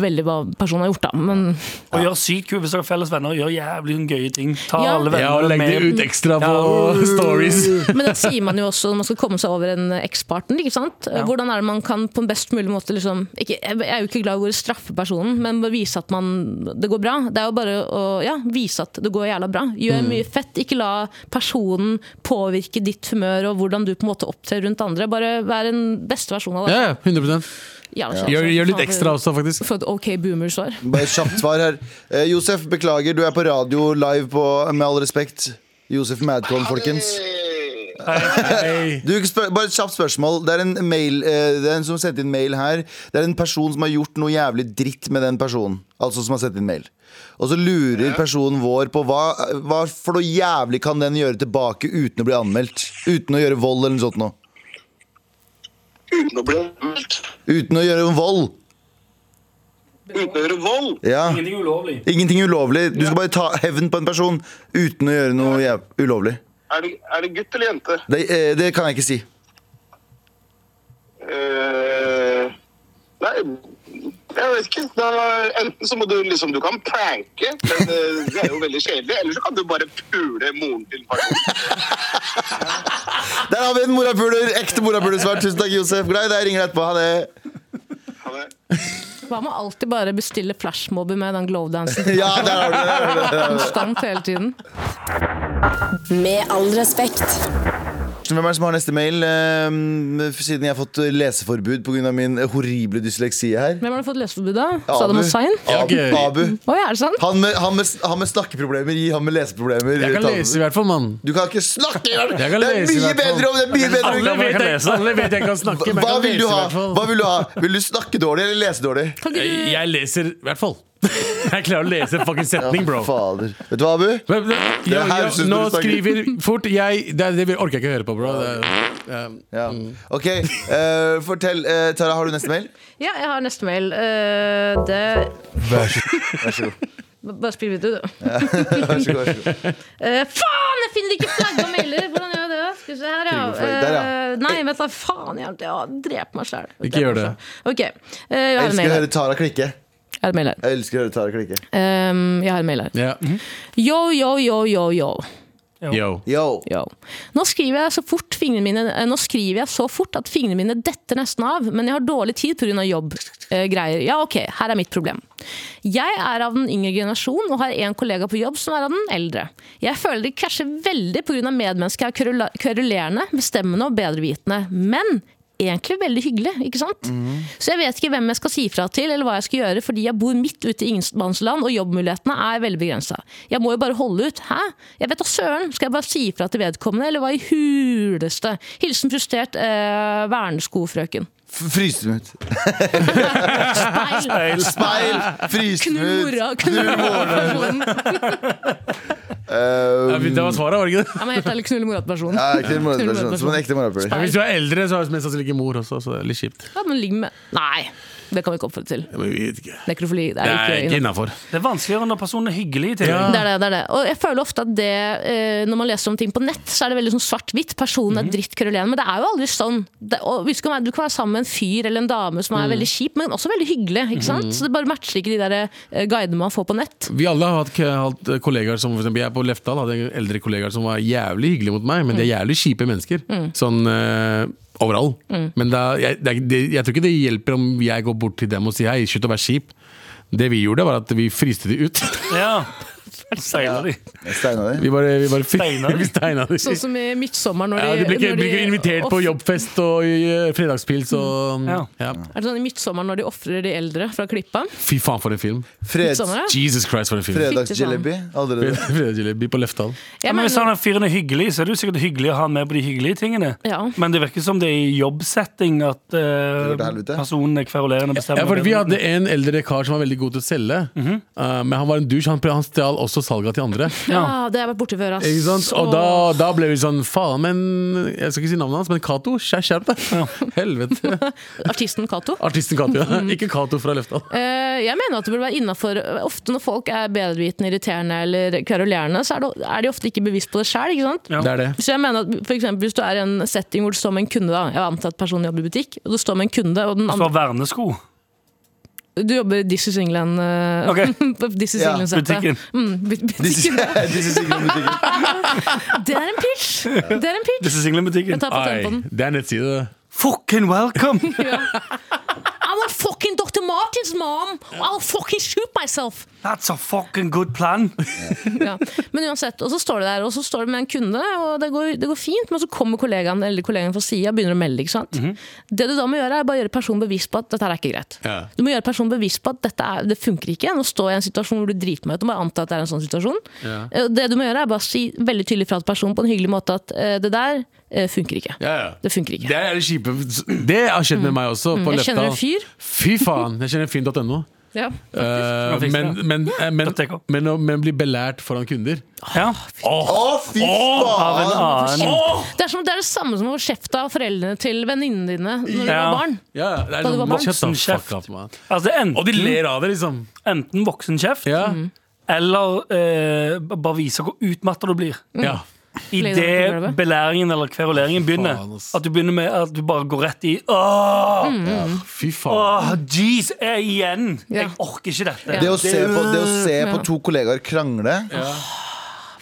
S5: veldig hva personen har gjort, da. Men
S4: Og gjør sykt kult hvis dere har felles venner. Gjør jævlig gøye ting. Ta
S5: Ja.
S4: alle
S3: Ja, og
S4: vennene
S3: legg det
S4: med.
S3: ut ekstra på
S4: Ja.
S3: stories.
S5: Men det sier man jo også når man skal komme seg over en ekspartner. ikke sant? Hvordan er det man kan på en best mulig måte liksom, ikke, Jeg er jo ikke glad i ordet straffe personen, men bare vise at man, det går bra. Det er jo bare å ja, vise at det går jævla bra.
S3: Mm.
S5: Gjør mye fett. Ikke la personen påvirke ditt humør og hvordan du på en måte opptrer rundt andre. Bare vær en beste versjon av deg.
S3: Ja, ja, 100
S5: Jævla kjedelig.
S3: gjør, gjør litt ekstra også, faktisk.
S5: For et OK boomer-svar.
S2: Bare et kjapt svar her. Eh, Josef, beklager. Du er på radio live på Med all respekt. Josef Madcon, folkens. Du, spør, bare et kjapt spørsmål. Det er, en mail, eh, det er en som sendte inn mail her. Det er en person som har gjort noe jævlig dritt med den personen. Altså som har sendt inn mail. Og så lurer personen vår på hva, hva for noe jævlig kan den gjøre tilbake uten å bli anmeldt? Uten å gjøre vold eller noe sånt noe.
S6: Nå blir det vilt.
S2: Uten å gjøre vold.
S6: Uten å gjøre vold.
S2: Ja.
S4: Ingenting ulovlig.
S2: Ingenting ulovlig. Du skal bare ta hevn på en person uten å gjøre noe jæv- ulovlig.
S6: Er det, er det gutt eller jente?
S2: Det, eh, det kan jeg ikke si.
S6: Eh, nei, jeg vet ikke. Da, enten så må du liksom Du kan pranke, men eh, det er jo veldig kjedelig. Eller så kan du bare pule moren til personen.
S2: Der har vi en morapuler! Ekte morapulersvar. Tusen takk, Josef. Glad i deg. Ringer deg etterpå. Ha det.
S6: Ha det.
S5: Hva med alltid bare bestille flashmobber med den glovedansen
S2: Ja, der har du det. der har du det.
S5: konstant hele tiden?
S1: Med all respekt.
S2: Hvem er det som har neste mail? eh, Siden jeg har fått leseforbud pga. min horrible dysleksi her.
S5: Hvem har du fått løseforbud av? Saddam Hussein?
S2: Abu.
S3: Jeg-
S2: Abu.
S5: Å, ja, er det sant?
S2: Han, med, han, med, han med snakkeproblemer, gi han med leseproblemer.
S3: Jeg kan
S2: Ta-
S3: lese, i hvert fall, mann.
S2: Du kan ikke snakke! Jørn. Det
S3: Jeg kan
S2: er
S3: lese
S2: mye
S3: i hvert fall.
S2: bedre om det! er mye bedre
S3: Alle
S4: jeg
S3: vet
S4: kan
S3: jeg,
S4: lese.
S3: alle vet jeg kan snakke, men
S2: Hva
S3: jeg kan
S2: vil du
S3: lese, i
S2: ha?
S3: hvert fall.
S2: Hva vil du ha? Vil du snakke dårlig eller lese dårlig?
S3: Jeg, jeg leser i hvert fall. Jeg klarer å lese en fucking setning, bro.
S2: Fader. Vet du hva, Abu?
S3: Men, men, jo,
S2: her
S3: jo,
S2: synes du
S3: nå
S2: snakker.
S3: skriver fort jeg Det, det orker jeg ikke høre på, bro. Det, er-
S2: Ja.
S3: Mm.
S2: Ok, eh, fortell. eh, Tara, har du neste mail?
S5: Ja, jeg har neste mail. Eh, det
S2: Vær så god.
S5: B- Bare spill videre, du.
S2: Vær så god, vær så god.
S5: Eh, faen, jeg finner ikke flagga mailer! Hvordan gjør jeg det? da? Skal vi se her, ja.
S2: Trykker på flagg. Der, ja.
S5: Eh, nei, vent da. Faen, jeg, ja, drep meg sjæl.
S3: Ikke gjør det.
S5: Ok. eh,
S2: Jeg
S5: jeg har en
S2: elsker å
S5: mail her.
S2: høre Tara klikke.
S5: Jeg har en mail her.
S2: Jeg elsker å høre Tara klikke.
S5: Ehm, jeg har en mail her.
S3: ja.
S5: Yo, yo, yo, yo, yo.
S3: Yo.
S2: Yo.
S5: Yo. Nå skriver jeg så fort fingrene mine eh, Nå skriver jeg så fort at fingrene mine detter nesten av, men jeg har dårlig tid pga. jobbgreier. eh, ja, ok, her er mitt problem. Jeg er av den yngre generasjon og har en kollega på jobb som er av den eldre. Jeg føler det krasjer veldig pga. medmennesker er kverula- kverulerende, bestemmende og bedrevitende. Men egentlig veldig hyggelig, ikke sant? Så jeg vet ikke hvem jeg skal si fra til, eller hva jeg skal gjøre, fordi jeg bor midt ute i ingenmannsland, og jobbmulighetene er veldig begrensa. Jeg må jo bare holde ut. Hæ? Jeg vet da søren! Skal jeg bare si fra til vedkommende, eller hva i huleste? Hilsen frustrert eh, verneskofrøken.
S2: F- Fryse dem ut.
S5: Speil.
S2: Speil! Fryse dem
S5: Knull
S2: ut.
S5: mora, knull mora-personen.
S2: Eh,
S3: Det var svaret, var det ikke det?
S5: Jeg må helt ærlig knull mora-personen.
S2: ja, knull moraperson. sånn Som en ekte morapuler.
S3: Hvis du er eldre, så har du mest sannsynlig ikke mor også, så det er litt kjipt.
S5: Ja, men ligg med Nei, det kan vi ikke oppfordre til.
S3: Men vi vet ikke.
S5: Nekrofili det
S3: Det
S5: er
S3: er
S5: ikke,
S3: ikke innafor.
S4: Det er vanskeligere når personen er hyggelig. Til.
S3: Ja.
S4: Ja.
S5: Det er det, det er det. Og jeg føler ofte at det, eh, når man leser om ting på nett, så er det veldig sånn svart-hvitt. Personen
S3: Mhm.
S5: er drittkrøllen, men det er jo aldri sånn. Det, og vi skal være, du kan være sammen med en fyr eller en dame som er
S3: Mm.
S5: veldig kjip, men også veldig hyggelig. Ikke sant? Så det bare matcher ikke de der eh, guidene man får på nett.
S3: Vi alle har hatt, hatt kollegaer som for eksempel, Jeg på Lefdal hadde en eldre kollegaer som var jævlig hyggelig mot meg, men
S5: Mm.
S3: de er jævlig kjipe mennesker. Sånn eh, overall.
S5: Mm.
S3: Men da, jeg, det, er ikke- det, jeg tror ikke det hjelper om jeg går bort til dem og sier hei, slutt å være kjip. Det vi gjorde, var at vi friste de ut.
S4: Seiler de.
S2: Steina di.
S3: Vi bare, vi bare
S4: Steina de.
S3: vi steina de.
S5: Sånn som i midtsommer når de
S3: Ja, de blir ikke,
S5: når
S3: blir ikke invitert på
S5: off-
S3: jobbfest og i, eh, fredagspils og
S4: Ja.
S3: Mm. ja.
S5: Er det sånn i midtsommer når de ofrer de eldre fra klippa?
S3: Fy faen, for en film.
S2: Freds,
S5: Midtsommer, Sånn, ja.
S3: Jesus Christ, for en film.
S2: fredagsjelebi. Aldri det.
S3: Fredagsjelebi på Lefdal.
S5: Jeg
S4: Ja, men hvis
S3: sånn
S4: han
S5: mener-
S4: er fyren er hyggelig, så er det jo sikkert hyggelig å ha han med på de hyggelige tingene.
S5: Ja.
S4: Men det virker som det er i jobbsetting at eh,
S2: går til helvete.
S4: personen er kverulerende og bestemmer.
S3: Ja, for
S4: det.
S3: Vi hadde en eldre kar som var veldig god til å selge, uh, men han var en douche. Han, han stjal også salga til andre.
S5: Ja, det har jeg vært borti før, ass.
S3: Ikke sant? Og
S5: Åh.
S3: da, da ble vi sånn Faen, men Jeg skal ikke si navnet hans, men Cato. skjer- Skjerp deg! Helvete.
S5: Artisten Cato.
S3: Artisten Cato, ja. Ikke Cato fra Løfta.
S5: Eh, jeg mener at det burde være innafor. Ofte når folk er bedrevitende, irriterende eller kverulerende, så er, det, er de ofte ikke bevisst på det sjøl.
S4: Ja.
S3: Det er det.
S5: Så jeg mener at for eksempel, Hvis du er i en setting hvor det står med en kunde da, Jeg antar at personen jobber i butikk, og det står med en kunde og den
S4: Så
S5: andre,
S4: har vernesko.
S5: Du jobber i This is England. eh,
S4: Ok.
S5: på This is
S2: Ja,
S5: England-settet.
S4: butikken.
S5: Mm, bu-
S2: Disse
S5: butikken.
S2: disse sikrene butikken.
S5: Det er en pitch! Det er en pitch!
S4: Disse singlebutikken.
S5: Jeg tar patent på den.
S3: det er nettside.
S4: Fucking welcome!
S5: I want fucking Dr. Martins, mom! I'll fucking shoot myself!
S4: That's a fucking good plan!
S5: ja. Men uansett, og så står det der, og så står det med en kunde, og det går, det går fint, men så kommer kollegaen eller kollegaen fra sida og begynner å melde. ikke sant?
S3: Mhm.
S5: Det du da må gjøre, er bare gjøre personen bevisst på at dette her er ikke greit.
S3: Ja.
S5: Du må gjøre personen bevisst på at dette er, det funker ikke. Nå står jeg i en situasjon hvor du driter meg ut. Du må anta at det er en sånn situasjon.
S3: Ja.
S5: Eh, og Det du må gjøre, er bare si veldig tydelig fra til personen på en hyggelig måte at eh, det der eh, funker ikke.
S3: Ja, ja.
S5: Det funker ikke.
S3: Det er det kjipe. Det har skjedd med meg også. På
S5: Jeg
S3: Løfta.
S5: kjenner en fyr.
S3: Fy faen. Jeg kjenner en fyr.no.
S5: Ja.
S3: Eh,
S4: Kan fikse
S3: men,
S4: det.
S3: men, eh, men,
S4: .tk.
S3: men, å- men bli belært foran kunder
S4: Ja.
S2: Å, fy
S4: Av en
S2: faen!
S4: annen.
S5: Det, er som, det er det samme som å kjefte av foreldrene til venninnene dine når du
S4: Ja.
S5: var barn.
S3: Ja, det er
S5: Da du var
S3: sånn,
S5: barn.
S3: shut the fuck
S4: Kjeft.
S3: up, man.
S4: Altså, det er enten,
S3: Og de ler av det, liksom.
S4: enten voksenkjeft
S3: Ja.
S5: Mm.
S4: eller eh, b- bare vise hvor utmatta du blir.
S3: ja.
S4: Idet
S5: Legger deg på gulvet.
S4: belæringen eller kveruleringen begynner.
S3: faen, ass.
S4: At du begynner med at du bare går rett i Åh,
S3: Fy faen.
S4: åh jeez, jeg igjen!
S5: Mm. Ja.
S4: Jeg orker ikke dette.
S2: Det å se på, det å se på to kollegaer krangle,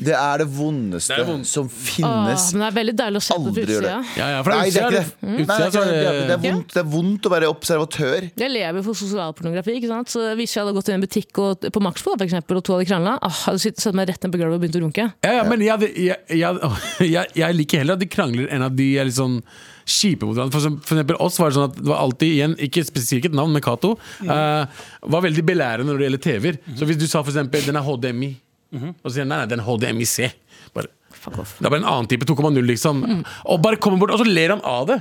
S2: det er det vondeste
S3: Det er vondt.
S2: som
S3: Mm.
S5: Åh,
S2: finnes.
S5: Ah, men det er veldig deilig å se på
S2: Aldri gjør det.
S5: utsida.
S3: Ja, ja, fra
S2: Nei, det er
S3: utsida
S2: ikke det.
S3: er
S2: Nei, det, er
S3: utsida så
S2: ikke det.
S3: er
S2: det,
S3: det
S2: er vondt, det er vondt å være observatør.
S5: Jeg lever for sosialpornografi. ikke sant? Så Hvis jeg hadde gått i en butikk og, på Maxbo for eksempel, og to hadde krangla, ah, hadde jeg satt meg rett ned på gulvet og begynt å runke.
S3: ja, ja, men jeg, jeg, jeg, jeg, jeg liker heller at de krangler enn at de er litt sånn kjipe mot hverandre. For, som- for eksempel oss var det sånn at det var alltid igjen, ikke spesielt et navn, men Cato, eh, var veldig belærende når det gjelder TV-er. Så hvis du sa for eksempel den er HDMI, og så sier han nei, nei, den er HDMI-C. Bare
S5: Fuck off. Mm.
S3: Det er bare en annen type 2,0, liksom. Og bare kommer bort, og så ler han av det.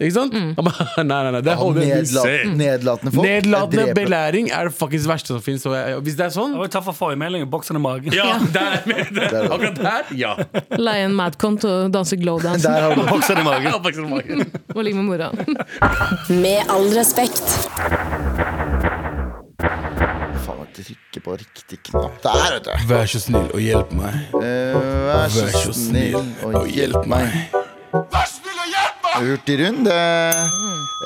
S3: Ikke sant? Han bare, nei, nei, nei, det er
S2: Og
S3: HDMI-C.
S2: nedlatende, nedlatende folk. jeg
S3: Nedlatende
S2: dreper dem.
S3: belæring er det fuckings verste som fins. Hvis det er sånn
S4: Det var jo tatt for forrige melding. Boksen i magen.
S3: Ja, der, akkurat der, ja.
S5: Leie en Madcon til å danse glowdance
S2: Der har du
S4: Boksen i magen.
S5: og ligge med mora.
S1: Med all respekt.
S2: Faen, jeg trykker på riktig knapp. Der, vet du.
S7: Vær så snill og hjelp meg.
S2: Eh, Vær
S7: Vær så snill og hjelp meg.
S2: Hurtigrund.
S5: Mm.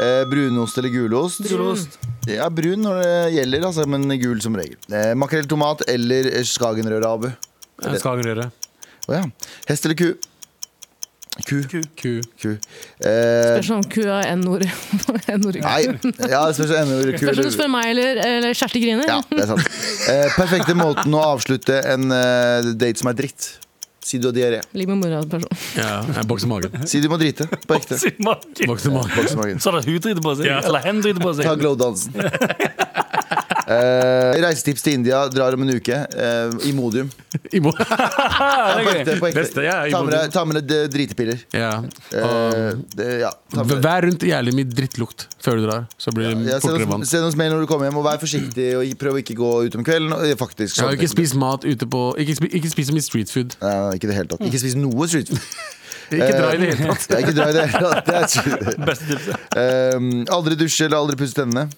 S2: Eh, brunost eller gulost? Gulost. Ja, brun når det gjelder, altså, men gul som regel. Eh, Makrell, tomat eller skagenrøre, Abu?
S3: Skagerøre.
S2: Å ja. Hest eller ku? Ku.
S3: Ku. Ku.
S2: ku. Eh,
S5: Det er sånn kua n-ord. N-ord.
S2: nei. Ja, det spørs om det er ku
S5: Spørs om du
S2: eller
S5: spør meg eller, eller Kjersti griner.
S2: Ja, det er sant. Eh, perfekte måten å avslutte en eh, date som er dritt. Si du har diaré.
S5: Ligg med altså. mora. person.
S3: Ja, jeg bokser magen.
S2: Si du må drite. På ekte.
S4: Boksen i magen.
S3: Bokser magen.
S2: Boksemagen.
S4: Så er det hun driter på seg.
S3: Ja.
S4: Eller hen driter på
S2: Ta
S4: seg.
S2: glowdansen. Eh, reisetips til India. Drar om en uke. Eh, Imodium.
S3: Ibo.
S4: Ah,
S2: På
S4: det er gøy.
S2: ekte. På ekte.
S3: Beste, ja,
S2: ta med
S3: Imodium.
S2: deg, ta med deg d- dritepiller.
S3: ja.
S2: Eh,
S3: Um,
S2: det, ja, ta med deg.
S3: Vær rundt jævlig mye drittlukt før du drar, så blir det
S2: Ja, send,
S3: fortere vant.
S2: oss, send oss mail når du kommer hjem, og vær forsiktig. Og ikke- prøv å ikke gå ut om kvelden. og- Faktisk, sånn
S3: Ja,
S2: sånne
S3: ikke
S2: ting.
S3: spis mat ute på Ikke, spi, ikke spis så mye street food.
S2: Nei, ikke i det hele tatt. Ikke spis noe street food. Eh,
S3: Ikke dra i det hele tatt.
S2: Ja, ikke dra i det hele tatt. Det er street food.
S4: Beste tipset.
S2: Ehm, aldri dusje eller aldri pusse tennene.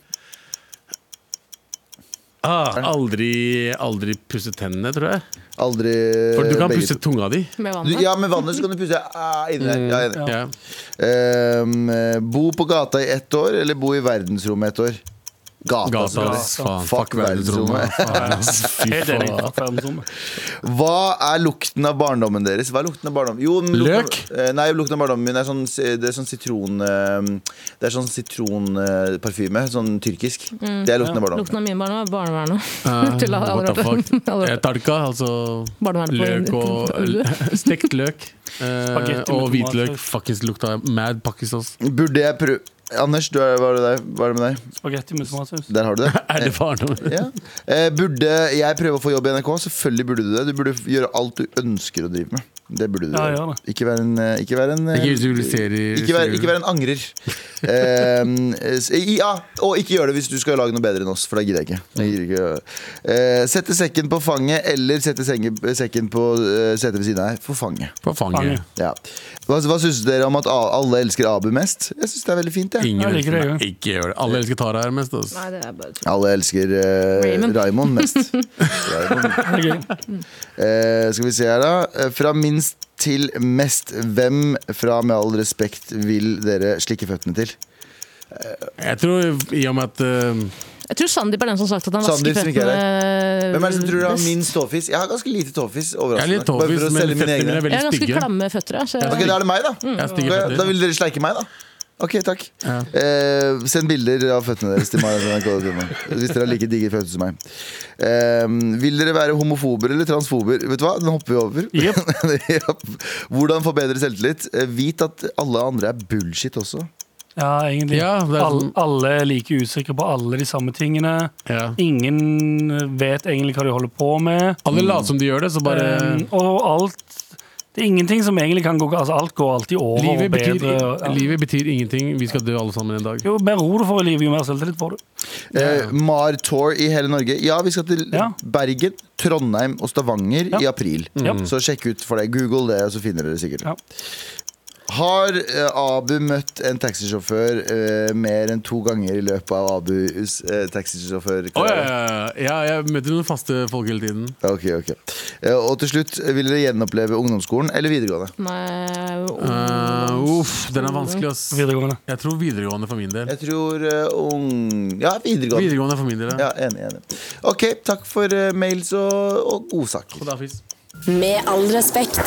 S3: Ah, aldri, aldri pusse tennene, tror jeg.
S2: Aldri
S3: For du kan
S2: Eh, begge
S3: pusse
S2: to.
S3: tunga di.
S5: med
S2: Du,
S5: vannet.
S2: ja, med vannet så kan du pusse ah, inni der. Ja,
S4: Mm.
S2: jeg er enig.
S3: Ja.
S2: Ehm, eh, bo på gata i ett år, eller bo i verdensrommet ett år? Gata.
S3: Gata,
S2: altså.
S3: ass. Faen,
S2: Fuck
S3: fuck verdensrommet. Faen, ass. Fy
S4: Helt enig.
S3: faen.
S4: Takk for verdensrommet.
S2: Hva er lukten av barndommen deres? Hva er lukten av barndommen? Jo, men lukten-
S3: Løk?
S2: Eh, nei, lukten av barndommen min er sånn, det er sånn sitron eh, Det er sånn sitronparfyme. Sånn tyrkisk. Det er lukten av barndommen.
S5: Lukten av mine barn var barnevernet.
S3: Ah,
S5: Tulla
S3: what the
S5: allerede.
S3: fuck. Eh,
S5: Allerede.
S3: Tarka, altså
S5: Barnevernet på
S3: løk
S5: Ulve.
S3: og Stekt løk. eh,
S4: Spagetti med
S3: og hvitløk.
S4: tomatsaus.
S3: Fuckings lukta mad pakkisås.
S2: Burde jeg prøve Anders, du er, hva, er det der? hva er det med deg?
S4: Spagetti med tomatsaus.
S2: Der har du det.
S3: Er det barndommen?
S2: Ja. Eh, burde jeg prøve å få jobb i NRK? Selvfølgelig burde du det. Du burde gjøre alt du ønsker å drive med. Det burde du
S4: Ja,
S2: gjøre.
S4: gjør det.
S2: Ikke være en, eh, ikke være en eh,
S3: Ikke visualisere
S2: ikke vær, ikke vær en angrer. Eh, s- ja, og ikke gjør det hvis du skal lage noe bedre enn oss, for det gidder jeg ikke. Jeg gidder ikke. å gjøre det. Eh, sette sekken på fanget, eller sette sengen, sekken på eh, setet ved siden av her på fanget.
S3: På fanget.
S2: Ja. Hva, hva syns dere om at A- alle elsker Abu mest? Jeg syns det er veldig fint. Jeg.
S3: Ingen
S4: Jeg liker det,
S3: elsker- Ikke gjør det. Alle elsker Tara her mest. Altså.
S5: Nei, det er bare tull.
S2: Alle elsker eh,
S5: Raymond.
S2: Raymond mest. Raymond.
S4: Det er gøy.
S2: Eh, skal vi se her, da. Eh, Fra minst til mest. Hvem fra Med all respekt vil dere slikke føttene til?
S3: Jeg tror i og med at eh,
S5: Jeg tror Sandeep er den som har sagt at han
S2: Sandeep
S5: vasker
S2: som ikke er
S5: føttene eh,
S2: Hvem er det som tror du har
S5: best.
S2: minst tåfis? Jeg har ganske lite tåfis.
S3: Jeg er
S2: Overraskende.
S3: litt
S2: Bare
S3: tåfis,
S2: for å
S3: men Mm.
S2: selge mine
S3: føttene mine
S2: egne.
S3: er
S5: Jeg
S3: veldig
S5: har ganske
S3: stygge.
S5: klamme føtter. jeg, Så
S2: Ok, Da er det meg, da.
S3: Jeg har stygge
S2: Da, da
S3: føtter.
S2: vil dere sleike meg, da. Ok, takk.
S3: Ja.
S2: Eh, send bilder av føttene deres til meg. Hvis dere har like digre føtter som meg. Eh, vil dere være homofober eller transfober? Vet du hva, Den hopper vi over. Jep. Hvordan få bedre selvtillit? Eh, Vit at alle andre er bullshit også.
S4: Ja, egentlig.
S3: Ja, det er
S4: Alle,
S3: sånn-
S4: alle er like usikre på alle de samme tingene.
S3: Ja.
S4: Ingen vet egentlig hva de holder på med.
S3: Alle later som de gjør det, så bare
S4: Um, og alt Det er ingenting som egentlig kan gå Altså, alt går alltid over
S3: livet,
S4: og bedre.
S3: betyr,
S4: og- ja.
S3: livet betyr ingenting. Vi skal dø alle sammen en dag.
S4: Jo mer ro du får i livet, jo mer selvtillit får du.
S2: Eh, Mar Tour i hele Norge. Ja, vi skal til
S4: Ja.
S2: Bergen, Trondheim og Stavanger
S4: Ja.
S2: i april.
S4: Ja.
S2: Så sjekk ut for deg. Google det, så finner dere det sikkert.
S4: Ja.
S2: Har eh, Abu møtt en taxisjåfør eh, mer enn to ganger i løpet av Abus eh, taxisjåfør?
S3: Å, ja, ja, ja. ja, jeg møter noen faste folk hele tiden.
S2: Ok, ok Eh, Og til slutt, vil dere gjenoppleve ungdomsskolen eller videregående?
S5: Nei,
S3: Eh,
S5: oh.
S3: uff, den er vanskelig, ass.
S4: Videregående.
S3: Jeg tror videregående for min del.
S2: Jeg tror eh, ung... Ja, videregående.
S3: Videregående for min del, ja.
S2: Ja, Enig. enig Ok, takk for eh, mails og, og godsaker.
S3: Kodafis.
S1: Med all respekt.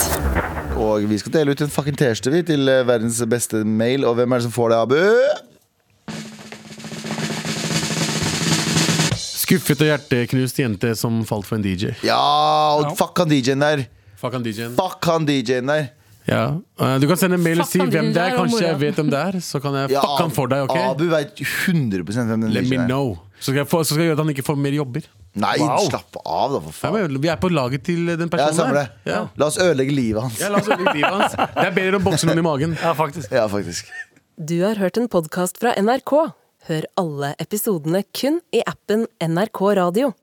S2: Og vi skal dele ut en fucking T-skjorte vi, til eh, verdens beste mail. Og hvem er det som får det, Abu?
S3: Skuffet og hjerteknust jente som falt for en DJ.
S2: Ja, og
S4: Ja.
S2: fuck han DJ-en der!
S3: Fuck han DJ-en.
S2: Fuck han DJ-en der!
S3: Ja. Eh, du kan sende en mail og
S5: Fuck
S3: si
S5: han
S3: hvem
S5: DJ-en
S3: det er.
S5: der og
S3: Kanskje jeg
S5: mora.
S3: vet hvem det er. Så kan jeg
S2: Ja,
S3: fuck han for deg, OK?
S2: Abu veit 100 hvem den
S3: Let me
S2: DJ-en er.
S3: know. Så skal, jeg få, så skal jeg gjøre at han ikke får mer jobber.
S2: Nei,
S4: Wow.
S2: slapp av, da, for
S3: Nei,
S2: faen.
S3: men Vi er på laget til den
S2: Ja,
S3: personen
S2: samme det.
S3: der. Sånn Ja.
S2: La oss ødelegge livet hans.
S3: Ja, la oss ødelegge livet hans. Det er bedre å bokse noen i magen.
S4: Ja, faktisk.
S2: Ja, faktisk.
S1: Du har hørt en podkast fra NRK. Hør alle episodene kun i appen NRK Radio.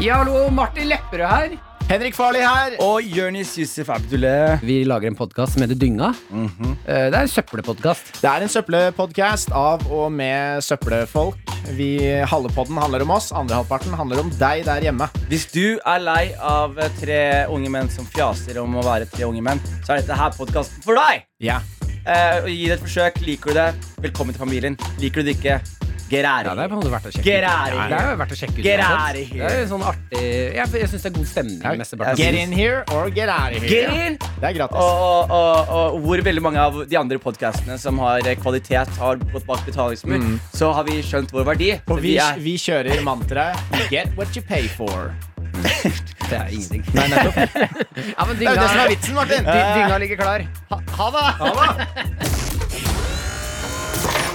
S8: Ja, hallo, Martin Lepperød her.
S9: Henrik Farley her. Og Jonis Yusuf Abdullah.
S8: Vi lager en podkast som heter Dynga. Eh, Det er en søppelpodkast.
S9: Mhm. Det er en søppelpodkast av og med søppelfolk. Vi, halve podden handler om oss, andre halvparten handler om deg der hjemme.
S10: Hvis du er lei av tre unge menn som fjaser om å være tre unge menn, så er dette her podkasten for deg!
S9: Ja.
S10: Eh, og gi det et forsøk. Liker du det, velkommen til familien. Liker du det ikke, get out
S8: Ja,
S10: of
S8: det er på en
S10: here.
S8: måte verdt å sjekke
S10: Get
S8: ut.
S10: out of
S8: Ja,
S10: here.
S8: Det er jo verdt å sjekke ut.
S10: Get
S8: uansett.
S10: out of here.
S8: Det er jo sånn artig Jeg, jeg syns det er god stemning. mesteparten.
S9: Get in here or get out of
S10: Get
S9: here.
S10: in!
S9: Det er gratis.
S10: Og, og, og, og hvor veldig mange av de andre podkastene som har eh, kvalitet, har gått bak betalingsmur, så har vi skjønt vår verdi.
S9: Og Mm. vi,
S10: er
S9: vi kjører mantraet Get what you pay for.
S8: Det er ingenting. Nei, ja, men
S9: Det er
S8: dynga,
S9: jo det som er vitsen, Martin.
S8: dy- dynga ligger klar.
S9: Ha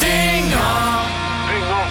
S9: det!